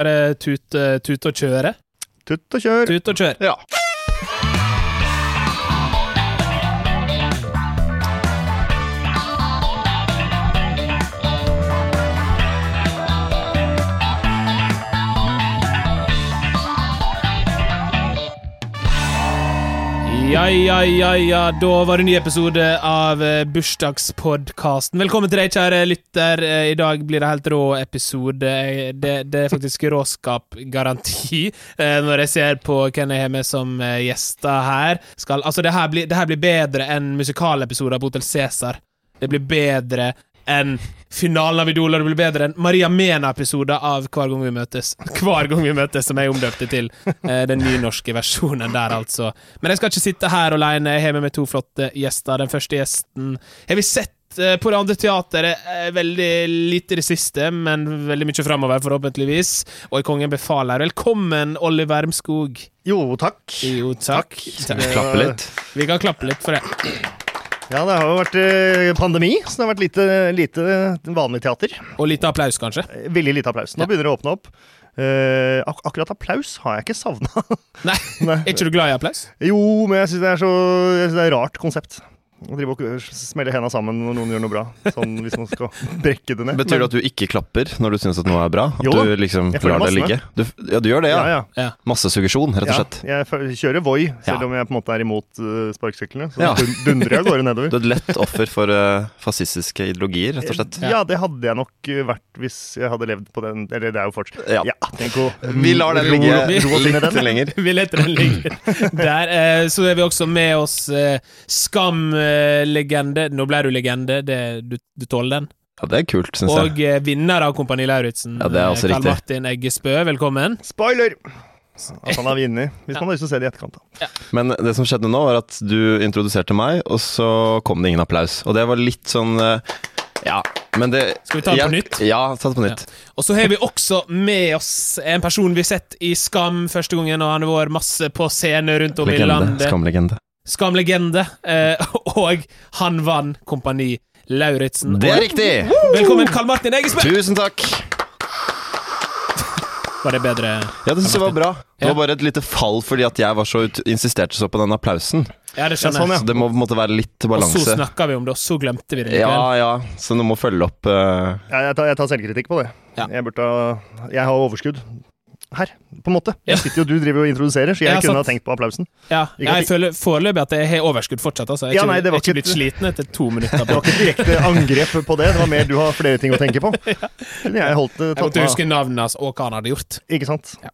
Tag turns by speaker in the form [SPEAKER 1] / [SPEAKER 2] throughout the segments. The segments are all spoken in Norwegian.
[SPEAKER 1] Er det tut, eh, tut og kjøre?
[SPEAKER 2] Tutt og kjør!
[SPEAKER 1] Tut og kjør.
[SPEAKER 2] Ja.
[SPEAKER 1] Ja, ja, ja, ja, da var det en ny episode av eh, bursdagspodkasten. Velkommen til deg, kjære lytter. Eh, I dag blir det helt rå episode. Eh, Det, det er faktisk råskapgaranti eh, når jeg ser på hvem jeg har med som eh, gjester her. Skal, altså, det her, blir, det her blir bedre enn musikalepisoder på Hotel Cæsar. Det blir bedre enn finalen av Idol, og det blir bedre enn Maria Mena-episoder av Hver gang vi møtes. Hver gang vi møtes, som jeg omdøpte til eh, den nynorske versjonen der, altså. Men jeg skal ikke sitte her alene. Jeg har med meg to flotte gjester. Den første gjesten har vi sett eh, på det andre teateret eh, veldig lite i det siste, men veldig mye framover, forhåpentligvis. Og i Kongen befaler. Velkommen, Olli Wermskog.
[SPEAKER 2] Jo, takk.
[SPEAKER 1] Jo, takk.
[SPEAKER 2] Takk.
[SPEAKER 1] takk.
[SPEAKER 3] Klappe litt.
[SPEAKER 1] Vi kan klappe litt for det.
[SPEAKER 2] Ja, det har jo vært eh, pandemi, så det har vært lite, lite vanlig teater.
[SPEAKER 1] Og litt applaus, kanskje.
[SPEAKER 2] Eh, Veldig lite applaus. Nå
[SPEAKER 1] Ja.
[SPEAKER 2] begynner det å åpne opp. Eh, ak akkurat applaus har jeg ikke savna.
[SPEAKER 1] Nei, er ikke du glad i applaus?
[SPEAKER 2] Jo, men jeg syns det er så jeg synes det er et rart konsept. Å drive og smelle henda sammen når noen gjør noe bra. Sånn hvis man skal brekke det ned.
[SPEAKER 3] Betyr det at du ikke klapper når du syns at noe er bra? At
[SPEAKER 2] Jo da,
[SPEAKER 3] du liksom
[SPEAKER 2] jeg følger
[SPEAKER 3] lar det
[SPEAKER 2] massene.
[SPEAKER 3] ligge? Du, ja, du gjør det, ja.
[SPEAKER 2] ja, ja.
[SPEAKER 3] Massesuggesjon, rett og
[SPEAKER 2] Ja,
[SPEAKER 3] slett.
[SPEAKER 2] jeg f- kjører Voi, selv
[SPEAKER 3] Ja.
[SPEAKER 2] om jeg på en måte er imot uh, sparkesyklene. Så
[SPEAKER 3] Ja.
[SPEAKER 2] dun- dundrer jeg av gårde nedover.
[SPEAKER 3] Du er et lett offer for eh, fascistiske ideologier, rett og slett.
[SPEAKER 1] Ja.
[SPEAKER 2] Ja, det hadde jeg nok uh, vært hvis jeg hadde levd på den. Eller det er jo fortsatt.
[SPEAKER 3] Ja.
[SPEAKER 2] tenk å
[SPEAKER 3] Vi lar den ligge
[SPEAKER 2] Ro- ro- ro oss inn i
[SPEAKER 3] litt
[SPEAKER 2] den.
[SPEAKER 3] lenger.
[SPEAKER 1] Vi leter den ligger der. Eh, Så er vi også med oss eh, Skam-legende. Nå ble du legende, det, du, du tåler den.
[SPEAKER 3] Ja, det er kult, syns jeg.
[SPEAKER 1] Og eh, vinner av Kompani Lauritzen,
[SPEAKER 3] Ja, det er også
[SPEAKER 1] eh, Karl
[SPEAKER 3] riktig.
[SPEAKER 1] Martin Eggesbø. Velkommen.
[SPEAKER 2] Spoiler! At han har vunnet. Hvis man har lyst til å se det i etterkant. da.
[SPEAKER 3] Men det som skjedde nå, var at du introduserte meg, og så kom det ingen applaus. Og det var litt sånn eh, Ja, men det
[SPEAKER 1] Skal vi ta det på
[SPEAKER 3] jeg-
[SPEAKER 1] nytt?
[SPEAKER 3] Ja, ta det på nytt.
[SPEAKER 1] Og så har vi også med oss en person vi har sett i Skam første gangen, og han har vært masse på scene rundt om i
[SPEAKER 3] Legende.
[SPEAKER 1] landet.
[SPEAKER 3] Skamlegende.
[SPEAKER 1] Skam-legende. Eh, og han vant Kompani Lauritzen.
[SPEAKER 3] Det er riktig!
[SPEAKER 1] Velkommen, Karl Martin Eggesbø!
[SPEAKER 3] Tusen takk!
[SPEAKER 1] Var det bedre?
[SPEAKER 3] Ja, det syns jeg var bra. Det
[SPEAKER 1] Ja.
[SPEAKER 3] var bare et lite fall fordi at jeg var så ut insisterte så på den applausen.
[SPEAKER 1] Ja, det skjønner jeg.
[SPEAKER 2] Ja, sånn, ja.
[SPEAKER 3] Så det må på en måte være litt
[SPEAKER 1] Og så
[SPEAKER 3] balanse.
[SPEAKER 1] snakka vi om det, og så glemte vi det. likevel.
[SPEAKER 3] Ja, ja, så du må følge opp eh,
[SPEAKER 2] Jeg, jeg, tar, jeg tar selvkritikk på det.
[SPEAKER 1] Ja.
[SPEAKER 2] Jeg, burde ha, jeg har overskudd. Her, på en måte.
[SPEAKER 1] Ja.
[SPEAKER 2] Jeg sitter jo, Du driver og introduserer, så jeg
[SPEAKER 1] Ja, sant.
[SPEAKER 2] kunne ha tenkt på applausen.
[SPEAKER 1] Ja,
[SPEAKER 2] Vi kan
[SPEAKER 1] jeg føler foreløpig at jeg har overskudd fortsatt. Altså. Jeg er
[SPEAKER 2] Ja,
[SPEAKER 1] ikke-
[SPEAKER 2] nei, det var
[SPEAKER 1] jeg er ikke
[SPEAKER 2] ikke-
[SPEAKER 1] blitt sliten etter to minutter.
[SPEAKER 2] Det
[SPEAKER 1] På.
[SPEAKER 2] var ikke et direkte angrep på det, det var mer du har flere ting å tenke på. Men Jeg holdt det
[SPEAKER 1] Jeg måtte
[SPEAKER 2] tatt-
[SPEAKER 1] huske navnet hans og hva han hadde gjort.
[SPEAKER 2] Ikke sant?
[SPEAKER 1] Ja.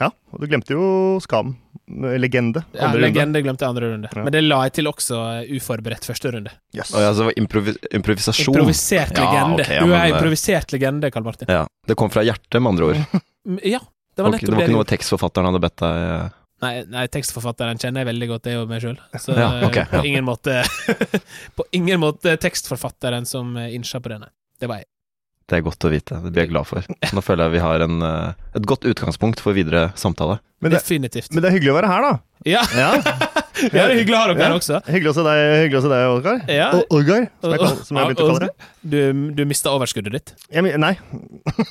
[SPEAKER 2] Ja, og du glemte jo Skam. Legende.
[SPEAKER 1] Ja,
[SPEAKER 2] Andre runde.
[SPEAKER 1] legende glemte jeg andre runde. Men det la jeg til også eh, uforberedt første runde.
[SPEAKER 2] Yes.
[SPEAKER 3] Å ja, så det var improvi improvisasjon.
[SPEAKER 1] Improvisert
[SPEAKER 3] Ja,
[SPEAKER 1] legende.
[SPEAKER 3] ok, ja,
[SPEAKER 1] du
[SPEAKER 3] men,
[SPEAKER 1] er
[SPEAKER 3] eh,
[SPEAKER 1] improvisert legende, Karl Martin.
[SPEAKER 3] Ja, Det kom fra hjertet, med andre ord.
[SPEAKER 1] Mm, Ja, det
[SPEAKER 3] Det
[SPEAKER 1] var nettopp
[SPEAKER 3] var, ikke- det var
[SPEAKER 1] det.
[SPEAKER 3] ikke
[SPEAKER 1] du
[SPEAKER 3] noe
[SPEAKER 1] gjorde.
[SPEAKER 3] tekstforfatteren hadde bedt deg eh.
[SPEAKER 1] Nei, nei, tekstforfatteren kjenner jeg veldig godt, det er jo meg sjøl. Så
[SPEAKER 3] Ja, ok,
[SPEAKER 1] eh, på
[SPEAKER 3] ja.
[SPEAKER 1] ingen måte På ingen måte tekstforfatteren som eh, innsja på denne. Det var jeg.
[SPEAKER 3] Det er godt å vite. Det blir jeg glad for. Nå føler jeg vi har en, eh, et godt utgangspunkt for videre samtale.
[SPEAKER 2] Men det,
[SPEAKER 1] Definitivt.
[SPEAKER 2] men det er hyggelig å være her, da.
[SPEAKER 1] Ja,
[SPEAKER 2] Ja,
[SPEAKER 1] det er hyggelig å ha dere her også.
[SPEAKER 2] Hyggelig å se deg, hyggelig å se deg Olgar.
[SPEAKER 1] Ja.
[SPEAKER 2] Og Olgar, som jeg, kall- som jeg har begynt å kalle det.
[SPEAKER 1] Du, du mista overskuddet ditt.
[SPEAKER 2] Jeg, men- nei.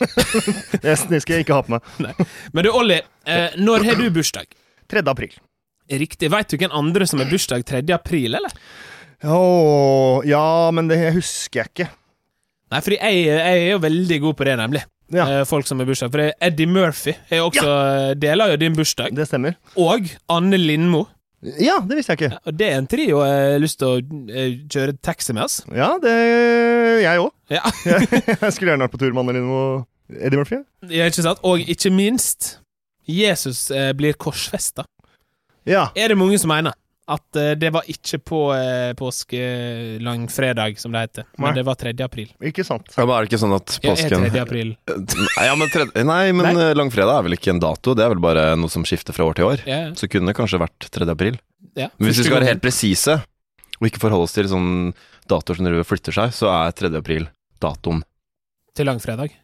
[SPEAKER 2] det skal jeg ikke ha på meg.
[SPEAKER 1] Men du, Olli, eh, når har du bursdag?
[SPEAKER 2] 3. april.
[SPEAKER 1] Riktig. Veit du hvem andre som har bursdag 3. april, eller?
[SPEAKER 2] Åh, ja, men det husker jeg ikke.
[SPEAKER 1] Nei, fordi jeg, jeg er jo veldig god på det, nemlig.
[SPEAKER 2] Ja.
[SPEAKER 1] Eh, folk som har bursdag. For det er Eddie Murphy er jo også, eh, deler jo din bursdag.
[SPEAKER 2] Det stemmer.
[SPEAKER 1] Og Anne Lindmo.
[SPEAKER 2] Ja, det visste jeg ikke.
[SPEAKER 1] Og det er en trio jeg har lyst til å eh, kjøre taxi med, altså.
[SPEAKER 2] Ja, det Jeg òg.
[SPEAKER 1] Ja.
[SPEAKER 2] Jeg skulle gjerne vært på tur med Anne Lindmo og Eddie Murphy.
[SPEAKER 1] Ja, ikke sant? Og ikke minst, Jesus eh, blir korsfesta.
[SPEAKER 2] Ja.
[SPEAKER 1] er det mange som mener at eh, det var ikke på eh, påskelangfredag, som det heter, men
[SPEAKER 2] Nei.
[SPEAKER 1] det var 3. april.
[SPEAKER 2] Ikke sant.
[SPEAKER 3] Ja, men Er det ikke sånn at
[SPEAKER 1] Ja, er 3.
[SPEAKER 3] påsken
[SPEAKER 1] april.
[SPEAKER 3] Ja, men tredje... Nei, men
[SPEAKER 1] Nei.
[SPEAKER 3] eh, langfredag er vel ikke en dato? Det er vel bare noe som skifter fra år til år?
[SPEAKER 1] Ja,
[SPEAKER 3] Så kunne det kanskje vært 3. april.
[SPEAKER 1] ja.
[SPEAKER 3] Men hvis vi skal
[SPEAKER 1] Første
[SPEAKER 3] være helt presise, og ikke forholde oss til sånn datoer som driver og flytter seg, så er 3. april datoen.
[SPEAKER 1] gangen Til langfredag.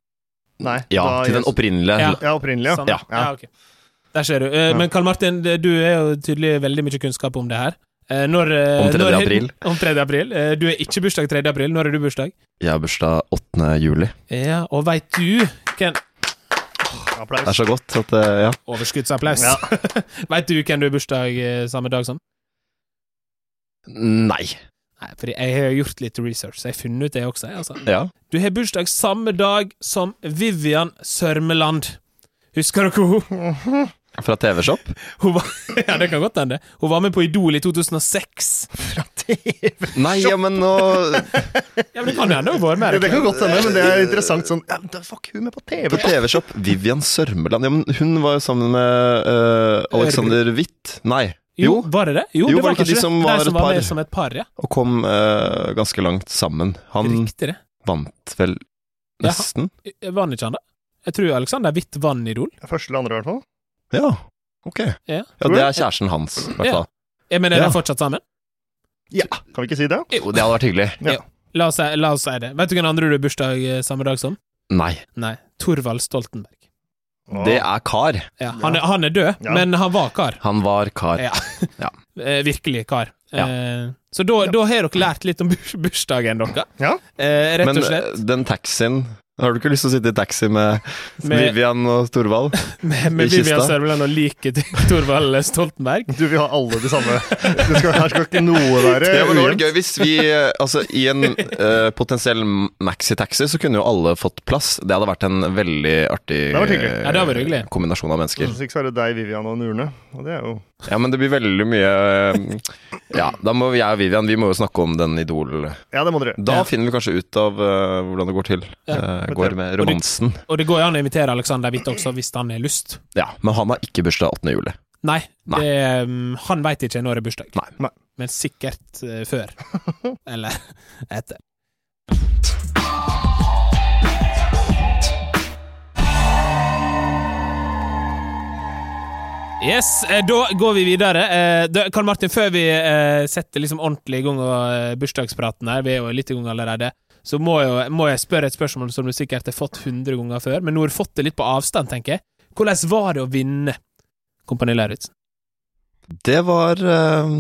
[SPEAKER 2] Nei.
[SPEAKER 3] Ja,
[SPEAKER 2] da-
[SPEAKER 3] til den opprinnelig.
[SPEAKER 1] Ja.
[SPEAKER 2] Ja, opprinnelig, ja.
[SPEAKER 1] Samme.
[SPEAKER 3] Ja.
[SPEAKER 1] ja, ok. Der ser du. Eh,
[SPEAKER 2] Ja.
[SPEAKER 1] Men Karl Martin, det- du er jo tydelig veldig mye kunnskap om det her. Eh, Når, eh,
[SPEAKER 3] Om 3.
[SPEAKER 1] når-
[SPEAKER 3] april.
[SPEAKER 1] Om 3. april. Eh, Du er ikke bursdag 3. april. Når er du bursdag?
[SPEAKER 3] Jeg har bursdag 8. juli.
[SPEAKER 1] Ja, og veit du hvem
[SPEAKER 3] Det er
[SPEAKER 2] Applaus.
[SPEAKER 3] så godt at eh, Ja.
[SPEAKER 1] Overskuddsapplaus.
[SPEAKER 2] Ja.
[SPEAKER 1] Veit du hvem du har bursdag eh, samme dag som?
[SPEAKER 3] Nei.
[SPEAKER 1] Nei, fordi jeg har gjort litt research, så jeg har funnet ut det også. jeg, Altså.
[SPEAKER 3] Ja.
[SPEAKER 1] Du har bursdag samme dag som Vivian Sørmeland. Husker dere hun?
[SPEAKER 3] Fra TV-Shop?
[SPEAKER 1] Hun var, ja, det kan godt hende. Hun var med på Idol i 2006.
[SPEAKER 3] Nei, ja, men nå
[SPEAKER 1] Ja, men Det kan hende hun har vært med.
[SPEAKER 2] Det, det
[SPEAKER 1] ikke?
[SPEAKER 2] kan godt hende, men det
[SPEAKER 3] Eh,
[SPEAKER 2] er interessant sånn ja, da Fuck, hun er på TV!
[SPEAKER 3] På TV-Shop. Vivian Sørmeland. Ja, men hun var jo sammen med eh, Alexander Witt. Nei.
[SPEAKER 1] Jo,
[SPEAKER 3] Jo.
[SPEAKER 1] var det det? Jo,
[SPEAKER 3] Jo,
[SPEAKER 1] det
[SPEAKER 3] var
[SPEAKER 1] var
[SPEAKER 3] det ikke
[SPEAKER 1] kanskje
[SPEAKER 3] de som
[SPEAKER 1] det.
[SPEAKER 3] var
[SPEAKER 1] de som
[SPEAKER 3] et
[SPEAKER 1] var
[SPEAKER 3] par?
[SPEAKER 1] med som et par, ja.
[SPEAKER 3] Og kom eh, ganske langt sammen. Han
[SPEAKER 1] Riktig det.
[SPEAKER 3] vant vel
[SPEAKER 1] Ja.
[SPEAKER 3] nesten.
[SPEAKER 1] Vann ikke han, da? Jeg tror Alexander Hvitt vann Idol.
[SPEAKER 2] Første eller andre, i hvert fall.
[SPEAKER 3] Ja. Ok.
[SPEAKER 1] Ja.
[SPEAKER 3] det er kjæresten hans, i hvert fall.
[SPEAKER 1] Jeg mener,
[SPEAKER 3] Ja.
[SPEAKER 1] er de fortsatt sammen?
[SPEAKER 2] Kan vi ikke si det?
[SPEAKER 3] Jo, det hadde vært hyggelig.
[SPEAKER 1] La oss, si- la oss si det. Vet du hvem andre du har bursdag eh, samme dag som?
[SPEAKER 3] Nei.
[SPEAKER 1] Nei. Torvald Stoltenberg.
[SPEAKER 3] Det er kar.
[SPEAKER 1] Ja, han, er, han er død,
[SPEAKER 2] Ja.
[SPEAKER 1] men han var kar.
[SPEAKER 3] Han var kar.
[SPEAKER 1] Ja. Eh, virkelig kar.
[SPEAKER 3] Ja.
[SPEAKER 1] Eh, så da, da har dere lært litt om burs- bursdagen deres.
[SPEAKER 2] Ja.
[SPEAKER 1] Eh, rett
[SPEAKER 3] Men
[SPEAKER 1] og slett.
[SPEAKER 3] eh, den taxien Har du ikke lyst til å sitte i taxi med,
[SPEAKER 1] Med-
[SPEAKER 3] Vivian og Storvald?
[SPEAKER 1] Med, med
[SPEAKER 3] i kista.
[SPEAKER 1] Vivian Sørveland og liket til Torvald Stoltenberg.
[SPEAKER 2] Du, vi har alle de samme det skal, Her skal ikke noe være
[SPEAKER 3] Ja, men det var
[SPEAKER 2] ujevnt.
[SPEAKER 3] gøy hvis vi eh, Altså, i en eh, potensiell maxitaxi så kunne jo alle fått plass. Det hadde vært en veldig artig
[SPEAKER 2] Det hadde vært hyggelig.
[SPEAKER 3] eh,
[SPEAKER 1] Ja, det hadde vært hyggelig. Mm.
[SPEAKER 3] kombinasjon av
[SPEAKER 2] Så
[SPEAKER 3] mennesker.
[SPEAKER 2] ikke så er det deg, Vivian og en urne. Og det er jo
[SPEAKER 3] Ja, men det blir veldig mye eh, Ja, da må jeg og Vivian Vi må jo snakke om den Idol.
[SPEAKER 2] Ja, det må dere.
[SPEAKER 3] Da
[SPEAKER 1] Ja.
[SPEAKER 3] finner vi kanskje ut av eh, hvordan det går til. Eh, går
[SPEAKER 1] Og
[SPEAKER 3] med
[SPEAKER 1] du-
[SPEAKER 3] romansen.
[SPEAKER 1] Og det går jo an å invitere Alexander Hvitt også, hvis han har lyst.
[SPEAKER 3] Ja, men han har ikke bursdag 8. juli.
[SPEAKER 1] Nei,
[SPEAKER 3] Nei.
[SPEAKER 1] Det, mm, han veit ikke når det er bursdag.
[SPEAKER 3] Nei.
[SPEAKER 2] Nei.
[SPEAKER 1] Men sikkert eh, før. Eller etter. Yes, eh, da går vi videre. Eh, da, Karl Martin, før vi eh, setter liksom ordentlig i gang og, eh, bursdagspraten her, vi er jo litt i gang allerede, så må, jo, må jeg spørre et spørsmål som du sikkert har fått 100 ganger før, men nå har du fått det litt på avstand, tenker jeg. Hvordan var det å vinne Kompani Lauritzen?
[SPEAKER 3] Det var eh,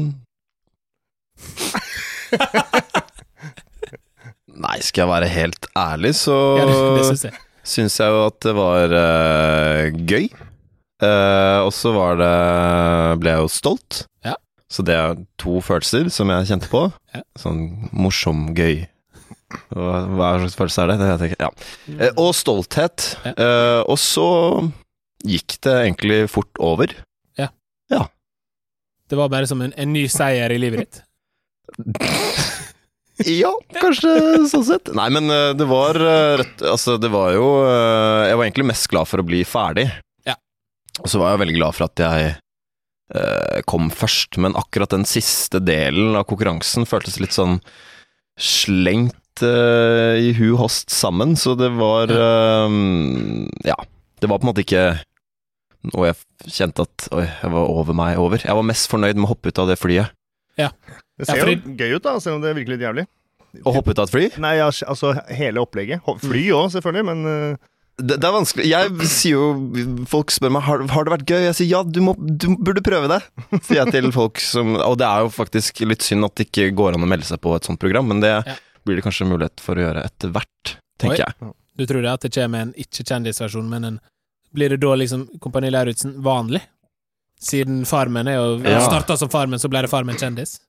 [SPEAKER 3] Nei, skal jeg være helt ærlig, så
[SPEAKER 1] Ja, det, det synes jeg.
[SPEAKER 3] syns jeg jo at det var eh, gøy. Eh, og så var det ble jeg jo stolt.
[SPEAKER 1] Ja.
[SPEAKER 3] Så det er to følelser som jeg kjente på.
[SPEAKER 1] Ja.
[SPEAKER 3] Sånn morsom, gøy. Hva, hva slags følelse er det? det vet jeg ikke. Ja. Eh, og stolthet.
[SPEAKER 1] Ja.
[SPEAKER 3] Eh, og så gikk det egentlig fort over.
[SPEAKER 1] Det var bare som en, en ny seier i livet ditt.
[SPEAKER 3] Ja, kanskje sånn sett. Nei, men eh, det var eh, rett Altså, det var jo eh, Jeg var egentlig mest glad for å bli ferdig.
[SPEAKER 1] Ja.
[SPEAKER 3] Og så var jeg veldig glad for at jeg eh, kom først, men akkurat den siste delen av konkurransen føltes litt sånn slengt eh, i hu og host sammen, så det var eh, Ja. Det var på en måte ikke noe jeg kjente at Oi, jeg var over meg over. Jeg var mest fornøyd med å hoppe ut av det flyet.
[SPEAKER 2] Det
[SPEAKER 1] Ja,
[SPEAKER 2] ser
[SPEAKER 1] fordi-
[SPEAKER 2] jo gøy ut, da, selv om det er virkelig litt jævlig.
[SPEAKER 3] Å hoppe ut av et fly?
[SPEAKER 2] Nei, ja, altså hele opplegget. Ho- Fly òg, selvfølgelig, men eh,
[SPEAKER 3] Det, det er vanskelig. Jeg sier jo Folk spør meg har, har det vært gøy. Jeg sier ja, du, må, du burde prøve det. Sier jeg til folk som Og det er jo faktisk litt synd at det ikke går an å melde seg på et sånt program, men det
[SPEAKER 1] Ja.
[SPEAKER 3] blir det kanskje mulighet for å gjøre etter hvert,
[SPEAKER 1] Oi.
[SPEAKER 3] tenker jeg.
[SPEAKER 1] Du tror det at det kommer en ikke-kjendisversjon, men en Blir det da liksom Kompani Lauritzen vanlig? Siden Farmen er jo
[SPEAKER 3] Ja.
[SPEAKER 1] starta som Farmen, så ble det Farmen kjendis?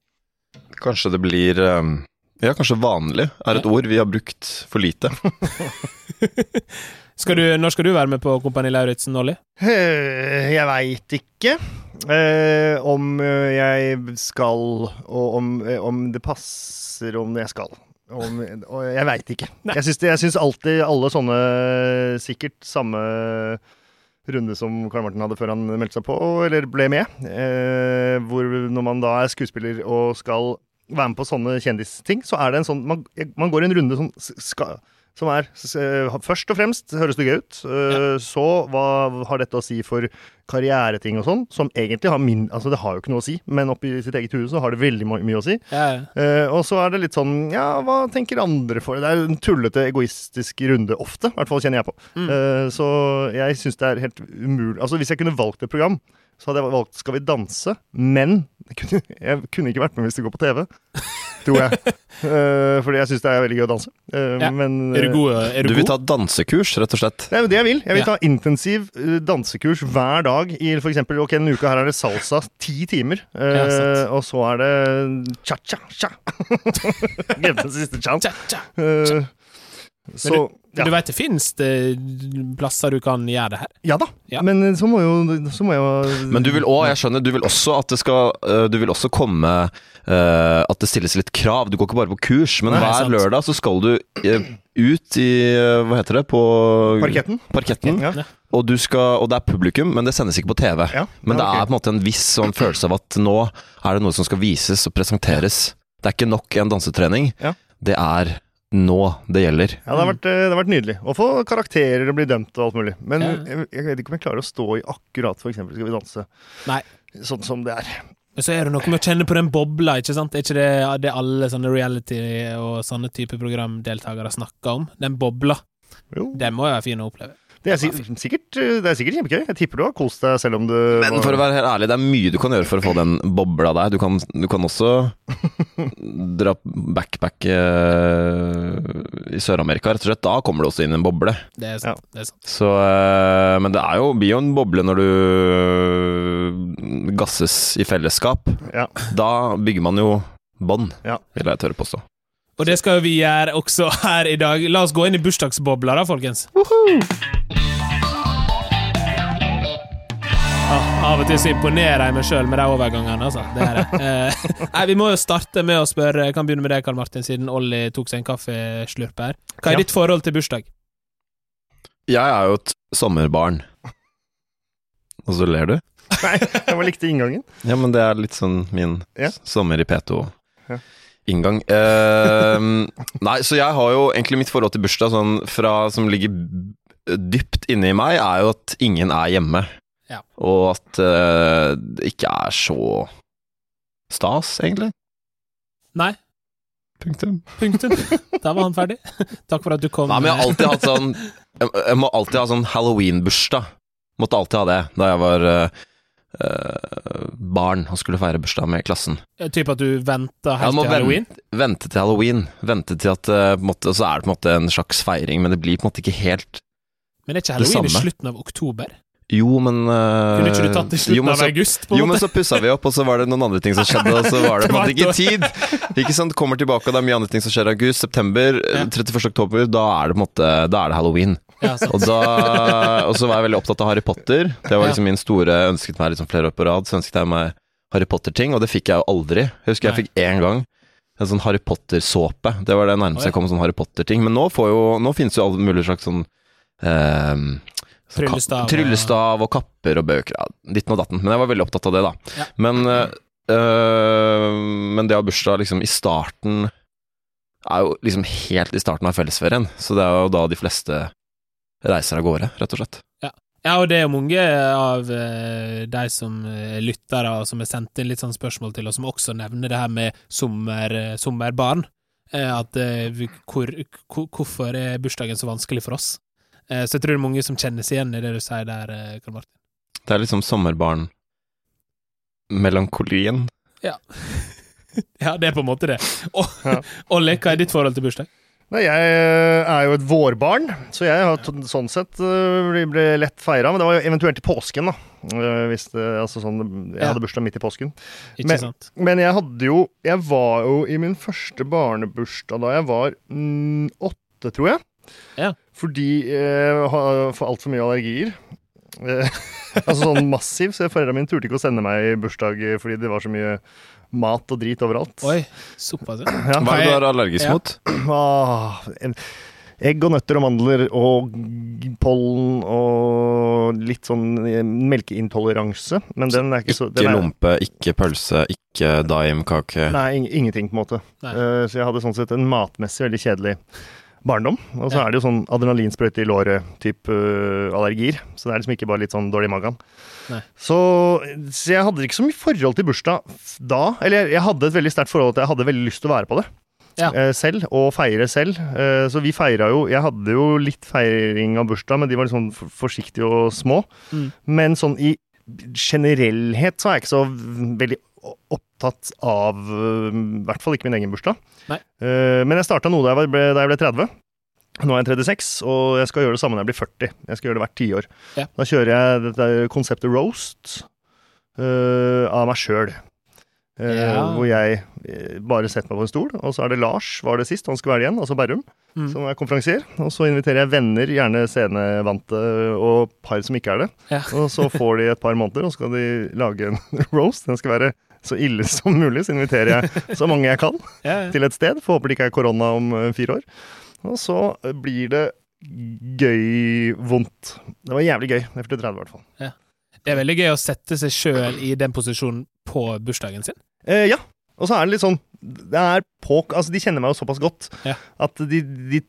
[SPEAKER 3] Kanskje det blir um, Ja, kanskje vanlig er et ord vi har brukt for lite.
[SPEAKER 1] Skal du, når skal du være med på Kompani Lauritzen, Olli?
[SPEAKER 2] eh, Jeg veit ikke eh, om eh, jeg skal, og om, eh, om det passer om jeg skal. Om, og jeg veit ikke.
[SPEAKER 1] Nei.
[SPEAKER 2] Jeg syns, det, jeg syns alltid alle sånne sikkert samme runde som Karl Martin hadde før han meldte seg på, eller ble med. Eh, hvor når man da er skuespiller og skal være med på sånne kjendisting, så er det en sånn Man, man går en runde som skal som er s- s- eh, først og fremst høres det gøy ut. eh, Så hva har dette å si for karriereting og sånn, som egentlig har min Altså, det har jo ikke noe å si, men oppi sitt eget hue så har det veldig my- mye å si.
[SPEAKER 1] Ja.
[SPEAKER 2] Eh, og så er det litt sånn Ja, hva tenker andre for det? Det er en tullete, egoistisk runde ofte. I hvert fall kjenner jeg på.
[SPEAKER 1] Mm.
[SPEAKER 2] Eh, så jeg syns det er helt umulig Altså, hvis jeg kunne valgt et program, så hadde jeg valgt Skal vi danse, men jeg kunne, jeg kunne ikke vært med hvis det går på TV. Tror jeg. Eh, fordi jeg syns det er veldig gøy å danse. Eh,
[SPEAKER 1] Ja.
[SPEAKER 2] Men
[SPEAKER 1] Er du god? Er du
[SPEAKER 3] Du vil
[SPEAKER 1] god?
[SPEAKER 3] ta dansekurs, rett og slett?
[SPEAKER 2] det er jo det jeg vil. Jeg vil
[SPEAKER 1] Ja.
[SPEAKER 2] ta intensiv eh, dansekurs hver dag i f.eks. Ok, denne uka her er det salsa ti timer. eh,
[SPEAKER 1] Ja, sant.
[SPEAKER 2] og så er det cha-cha-cha. Glemte den siste cha.
[SPEAKER 1] Tja, tja.
[SPEAKER 2] Eh, så
[SPEAKER 1] Du
[SPEAKER 2] ja.
[SPEAKER 1] vet det finnes det plasser du kan gjøre det her?
[SPEAKER 2] ja da.
[SPEAKER 1] Ja.
[SPEAKER 2] Men eh, så må jo så må jeg jo eh,
[SPEAKER 3] Men du vil òg, jeg skjønner, du vil også at det skal øh, Du vil også komme øh, At det stilles litt krav. Du går ikke bare på kurs, men
[SPEAKER 1] Nei,
[SPEAKER 3] hver
[SPEAKER 1] sant.
[SPEAKER 3] lørdag så skal du øh, ut i øh, Hva heter det? På
[SPEAKER 2] Parketten?
[SPEAKER 3] parketten.
[SPEAKER 1] Mm.
[SPEAKER 2] Ja.
[SPEAKER 3] Og, du skal, og det er publikum, men det sendes ikke på TV.
[SPEAKER 2] Ja.
[SPEAKER 3] Men
[SPEAKER 2] Ja,
[SPEAKER 3] det
[SPEAKER 2] ok.
[SPEAKER 3] er på en måte en viss sånn følelse av at nå er det noe som skal vises og presenteres. Det er ikke nok en dansetrening.
[SPEAKER 2] Ja.
[SPEAKER 3] Det er nå det gjelder.
[SPEAKER 2] Ja, det har, vært, eh, det har vært nydelig. Å få karakterer og bli dømt og alt mulig. Men
[SPEAKER 1] Ja.
[SPEAKER 2] jeg, jeg vet ikke om jeg klarer å stå i akkurat for eksempel Skal vi danse
[SPEAKER 1] Nei.
[SPEAKER 2] sånn som det er.
[SPEAKER 1] Men så er det noe med å kjenne på den bobla, ikke sant? Er ikke det det alle sånne reality og sånne type programdeltakere snakker om? Den bobla.
[SPEAKER 2] Jo. Det,
[SPEAKER 1] Den må jo være fin å oppleve.
[SPEAKER 2] er sikkert, sikkert, eh, det er sikkert kjempegøy. Jeg tipper du har kost deg selv om du
[SPEAKER 3] Men for å være helt ærlig, det er mye du kan gjøre for å få den bobla der. Du kan, du kan også dra backpack eh, i Sør-Amerika, rett og slett. Da kommer det også inn en boble.
[SPEAKER 1] Det er sant. Det er sant.
[SPEAKER 3] Så, eh, men det er jo, blir jo en boble når du gasses i fellesskap.
[SPEAKER 2] Ja.
[SPEAKER 3] Da bygger man jo bånd,
[SPEAKER 2] Ja.
[SPEAKER 3] vil jeg tørre påstå.
[SPEAKER 1] Og det skal jo vi gjøre også her i dag. La oss gå inn i bursdagsbobla, da, folkens. Ah, av og til så imponerer jeg meg sjøl med de overgangene, altså. Det er det. Eh, Nei, vi må jo starte med å spørre Jeg kan begynne med deg, Karl Martin, siden Olli tok seg en kaffeslurp her. Hva er
[SPEAKER 2] Ja.
[SPEAKER 1] ditt forhold til bursdag?
[SPEAKER 3] Jeg er jo et sommerbarn. Og så ler du?
[SPEAKER 2] Nei, jeg bare likte inngangen.
[SPEAKER 3] Ja, men det er litt sånn min
[SPEAKER 2] Ja.
[SPEAKER 3] s- sommer i P2.
[SPEAKER 2] Ja.
[SPEAKER 3] Inngang. Ehm, nei, så jeg har jo egentlig mitt forhold til bursdag sånn fra, som ligger b- dypt inne i meg, er jo at ingen er hjemme.
[SPEAKER 1] Ja.
[SPEAKER 3] Og at eh, det ikke er så stas, egentlig.
[SPEAKER 1] Nei.
[SPEAKER 3] Punktum.
[SPEAKER 1] Punktum. Da var han ferdig. Takk for at du kom.
[SPEAKER 3] Nei, men jeg har alltid hatt sånn Jeg, jeg må alltid ha sånn halloween-bursdag. Måtte alltid ha det da jeg var eh, eh, barn og skulle feire bursdag med klassen.
[SPEAKER 1] Eh, Typ at du venter helt
[SPEAKER 3] Ja, må
[SPEAKER 1] til halloween?
[SPEAKER 3] Vente til halloween. Vente til at eh, på en måte, Så er det på en måte en slags feiring, men det blir på en måte ikke helt
[SPEAKER 1] Men er ikke
[SPEAKER 3] Det
[SPEAKER 1] halloween i
[SPEAKER 3] samme.
[SPEAKER 1] slutten av oktober?
[SPEAKER 3] Jo, men eh,
[SPEAKER 1] Kunne ikke du tatt det i
[SPEAKER 3] jo,
[SPEAKER 1] slutten
[SPEAKER 3] men
[SPEAKER 1] av
[SPEAKER 3] så-
[SPEAKER 1] august? på
[SPEAKER 3] Jo,
[SPEAKER 1] en
[SPEAKER 3] men
[SPEAKER 1] måte?
[SPEAKER 3] så pussa vi opp, og så var det noen andre ting som skjedde, og så var det på en måte ikke tid. Ikke sant, Kommer tilbake, og det er mye andre ting som skjer i august, september,
[SPEAKER 1] Ja.
[SPEAKER 3] eh, 31. oktober. Da er det på en måte Da er det halloween.
[SPEAKER 1] Ja, sant.
[SPEAKER 3] Og, da, og så var jeg veldig opptatt av Harry Potter. Det var liksom min store Jeg ønsket meg liksom flere år på rad. Så ønsket jeg meg Harry Potter-ting, og det fikk jeg jo aldri. Jeg husker jeg fikk én gang en sånn Harry Potter-såpe. Det var det nærmeste
[SPEAKER 1] Oi.
[SPEAKER 3] jeg kom sånn Harry Potter-ting. Men nå, får jo, nå finnes jo alle mulige slags sånn ehm, så ka-
[SPEAKER 1] Tryllestav og-
[SPEAKER 3] tryllestav og kapper og bøker. Ja, ditten og datten. Men jeg var veldig opptatt av det, da.
[SPEAKER 1] Ja.
[SPEAKER 3] Men, eh, eh, men det å ha bursdag liksom i starten er jo liksom helt i starten av fellesferien, så det er jo da de fleste reiser av gårde, rett og slett.
[SPEAKER 1] Ja, og det er jo mange av eh, de som eh, lytter og som har sendt inn litt sånn spørsmål til oss, som også nevner det her med sommer, eh, sommerbarn. Eh, at eh, vi- hvor, hvor, hvorfor er bursdagen så vanskelig for oss? Eh, så jeg tror det er mange som kjenner seg igjen i det du sier der, eh, Karl Martin.
[SPEAKER 3] Det er liksom sommerbarn Melankolien.
[SPEAKER 1] Ja, det er på en måte det. Og,
[SPEAKER 2] Ja.
[SPEAKER 1] Olli, hva er ditt forhold til bursdag?
[SPEAKER 2] Nei, jeg eh, er jo et vårbarn, så jeg har t- sånn sett eh, ble- ble lett feira. Men det var jo eventuelt i påsken, da. Eh, Hvis det, altså sånn, jeg
[SPEAKER 1] Ja.
[SPEAKER 2] hadde bursdag midt i påsken.
[SPEAKER 1] Ikke
[SPEAKER 2] Men-
[SPEAKER 1] sant?
[SPEAKER 2] Men jeg hadde jo Jeg var jo i min første barnebursdag da jeg var mm, åtte, tror jeg.
[SPEAKER 1] Ja.
[SPEAKER 2] Fordi jeg har for altfor mye allergier. Eh, altså sånn massiv, så foreldrene mine turte ikke å sende meg i bursdag eh, fordi det var så mye mat og drit overalt.
[SPEAKER 1] Oi, såpass, ja.
[SPEAKER 2] Ja.
[SPEAKER 3] Hva er det du er allergisk
[SPEAKER 1] Ja.
[SPEAKER 3] mot?
[SPEAKER 2] Ah, en- egg og nøtter og mandler og g- pollen og litt sånn eh, melkeintoleranse. Men den er ikke så den
[SPEAKER 3] Ikke
[SPEAKER 2] er,
[SPEAKER 3] lompe, ikke pølse, ikke daimkake.
[SPEAKER 2] Nei, ing- ingenting, på en måte.
[SPEAKER 1] Eh, Nei.
[SPEAKER 2] Eh, så jeg hadde sånn sett en matmessig veldig kjedelig barndom. Og så
[SPEAKER 1] Ja.
[SPEAKER 2] er det jo sånn adrenalinsprøyte i låret-type allergier. Så det er liksom ikke bare litt sånn dårlig i magen.
[SPEAKER 1] Nei.
[SPEAKER 2] Så, så jeg hadde ikke så mye forhold til bursdag f- da. Eller jeg hadde et veldig sterkt forhold til at jeg hadde veldig lyst til å være på det.
[SPEAKER 1] Ja.
[SPEAKER 2] Eh, selv, og feire selv. Eh, så vi feira jo Jeg hadde jo litt feiring av bursdag, men de var litt sånn for- forsiktige og små.
[SPEAKER 1] Mm.
[SPEAKER 2] Men sånn i generellhet så er jeg ikke så v- veldig o- opptatt av øh, I hvert fall ikke min egen bursdag.
[SPEAKER 1] Nei.
[SPEAKER 2] Eh, Men jeg starta noe da jeg, var- ble, da jeg ble 30. Nå er jeg 36, og jeg skal gjøre det samme når jeg blir 40. Jeg skal gjøre det hvert tiår.
[SPEAKER 1] Ja.
[SPEAKER 2] Da kjører jeg dette er konseptet roast eh, av meg sjøl.
[SPEAKER 1] Ja.
[SPEAKER 2] Hvor jeg eh, bare setter meg på en stol, og så er det Lars var det sist, han skulle være igjen, altså Berrum,
[SPEAKER 1] Mm.
[SPEAKER 2] som er konferansier. Og så inviterer jeg venner, gjerne scenevante, og par som ikke er det.
[SPEAKER 1] Ja.
[SPEAKER 2] Og så får de et par måneder, og så skal de lage en roast. Den skal være så ille som mulig, så inviterer jeg så mange jeg kan
[SPEAKER 1] Ja, ja.
[SPEAKER 2] til et sted. Får håpe det ikke er korona om eh, fire år. Og så blir det gøy vondt. Det var jævlig gøy. Jeg fylte 30 i hvert fall.
[SPEAKER 1] Det er veldig gøy å sette seg sjøl i den posisjonen på bursdagen sin.
[SPEAKER 2] Eh, ja. Og så er det litt sånn det er på, altså De kjenner meg jo såpass godt
[SPEAKER 1] Ja.
[SPEAKER 2] at de, de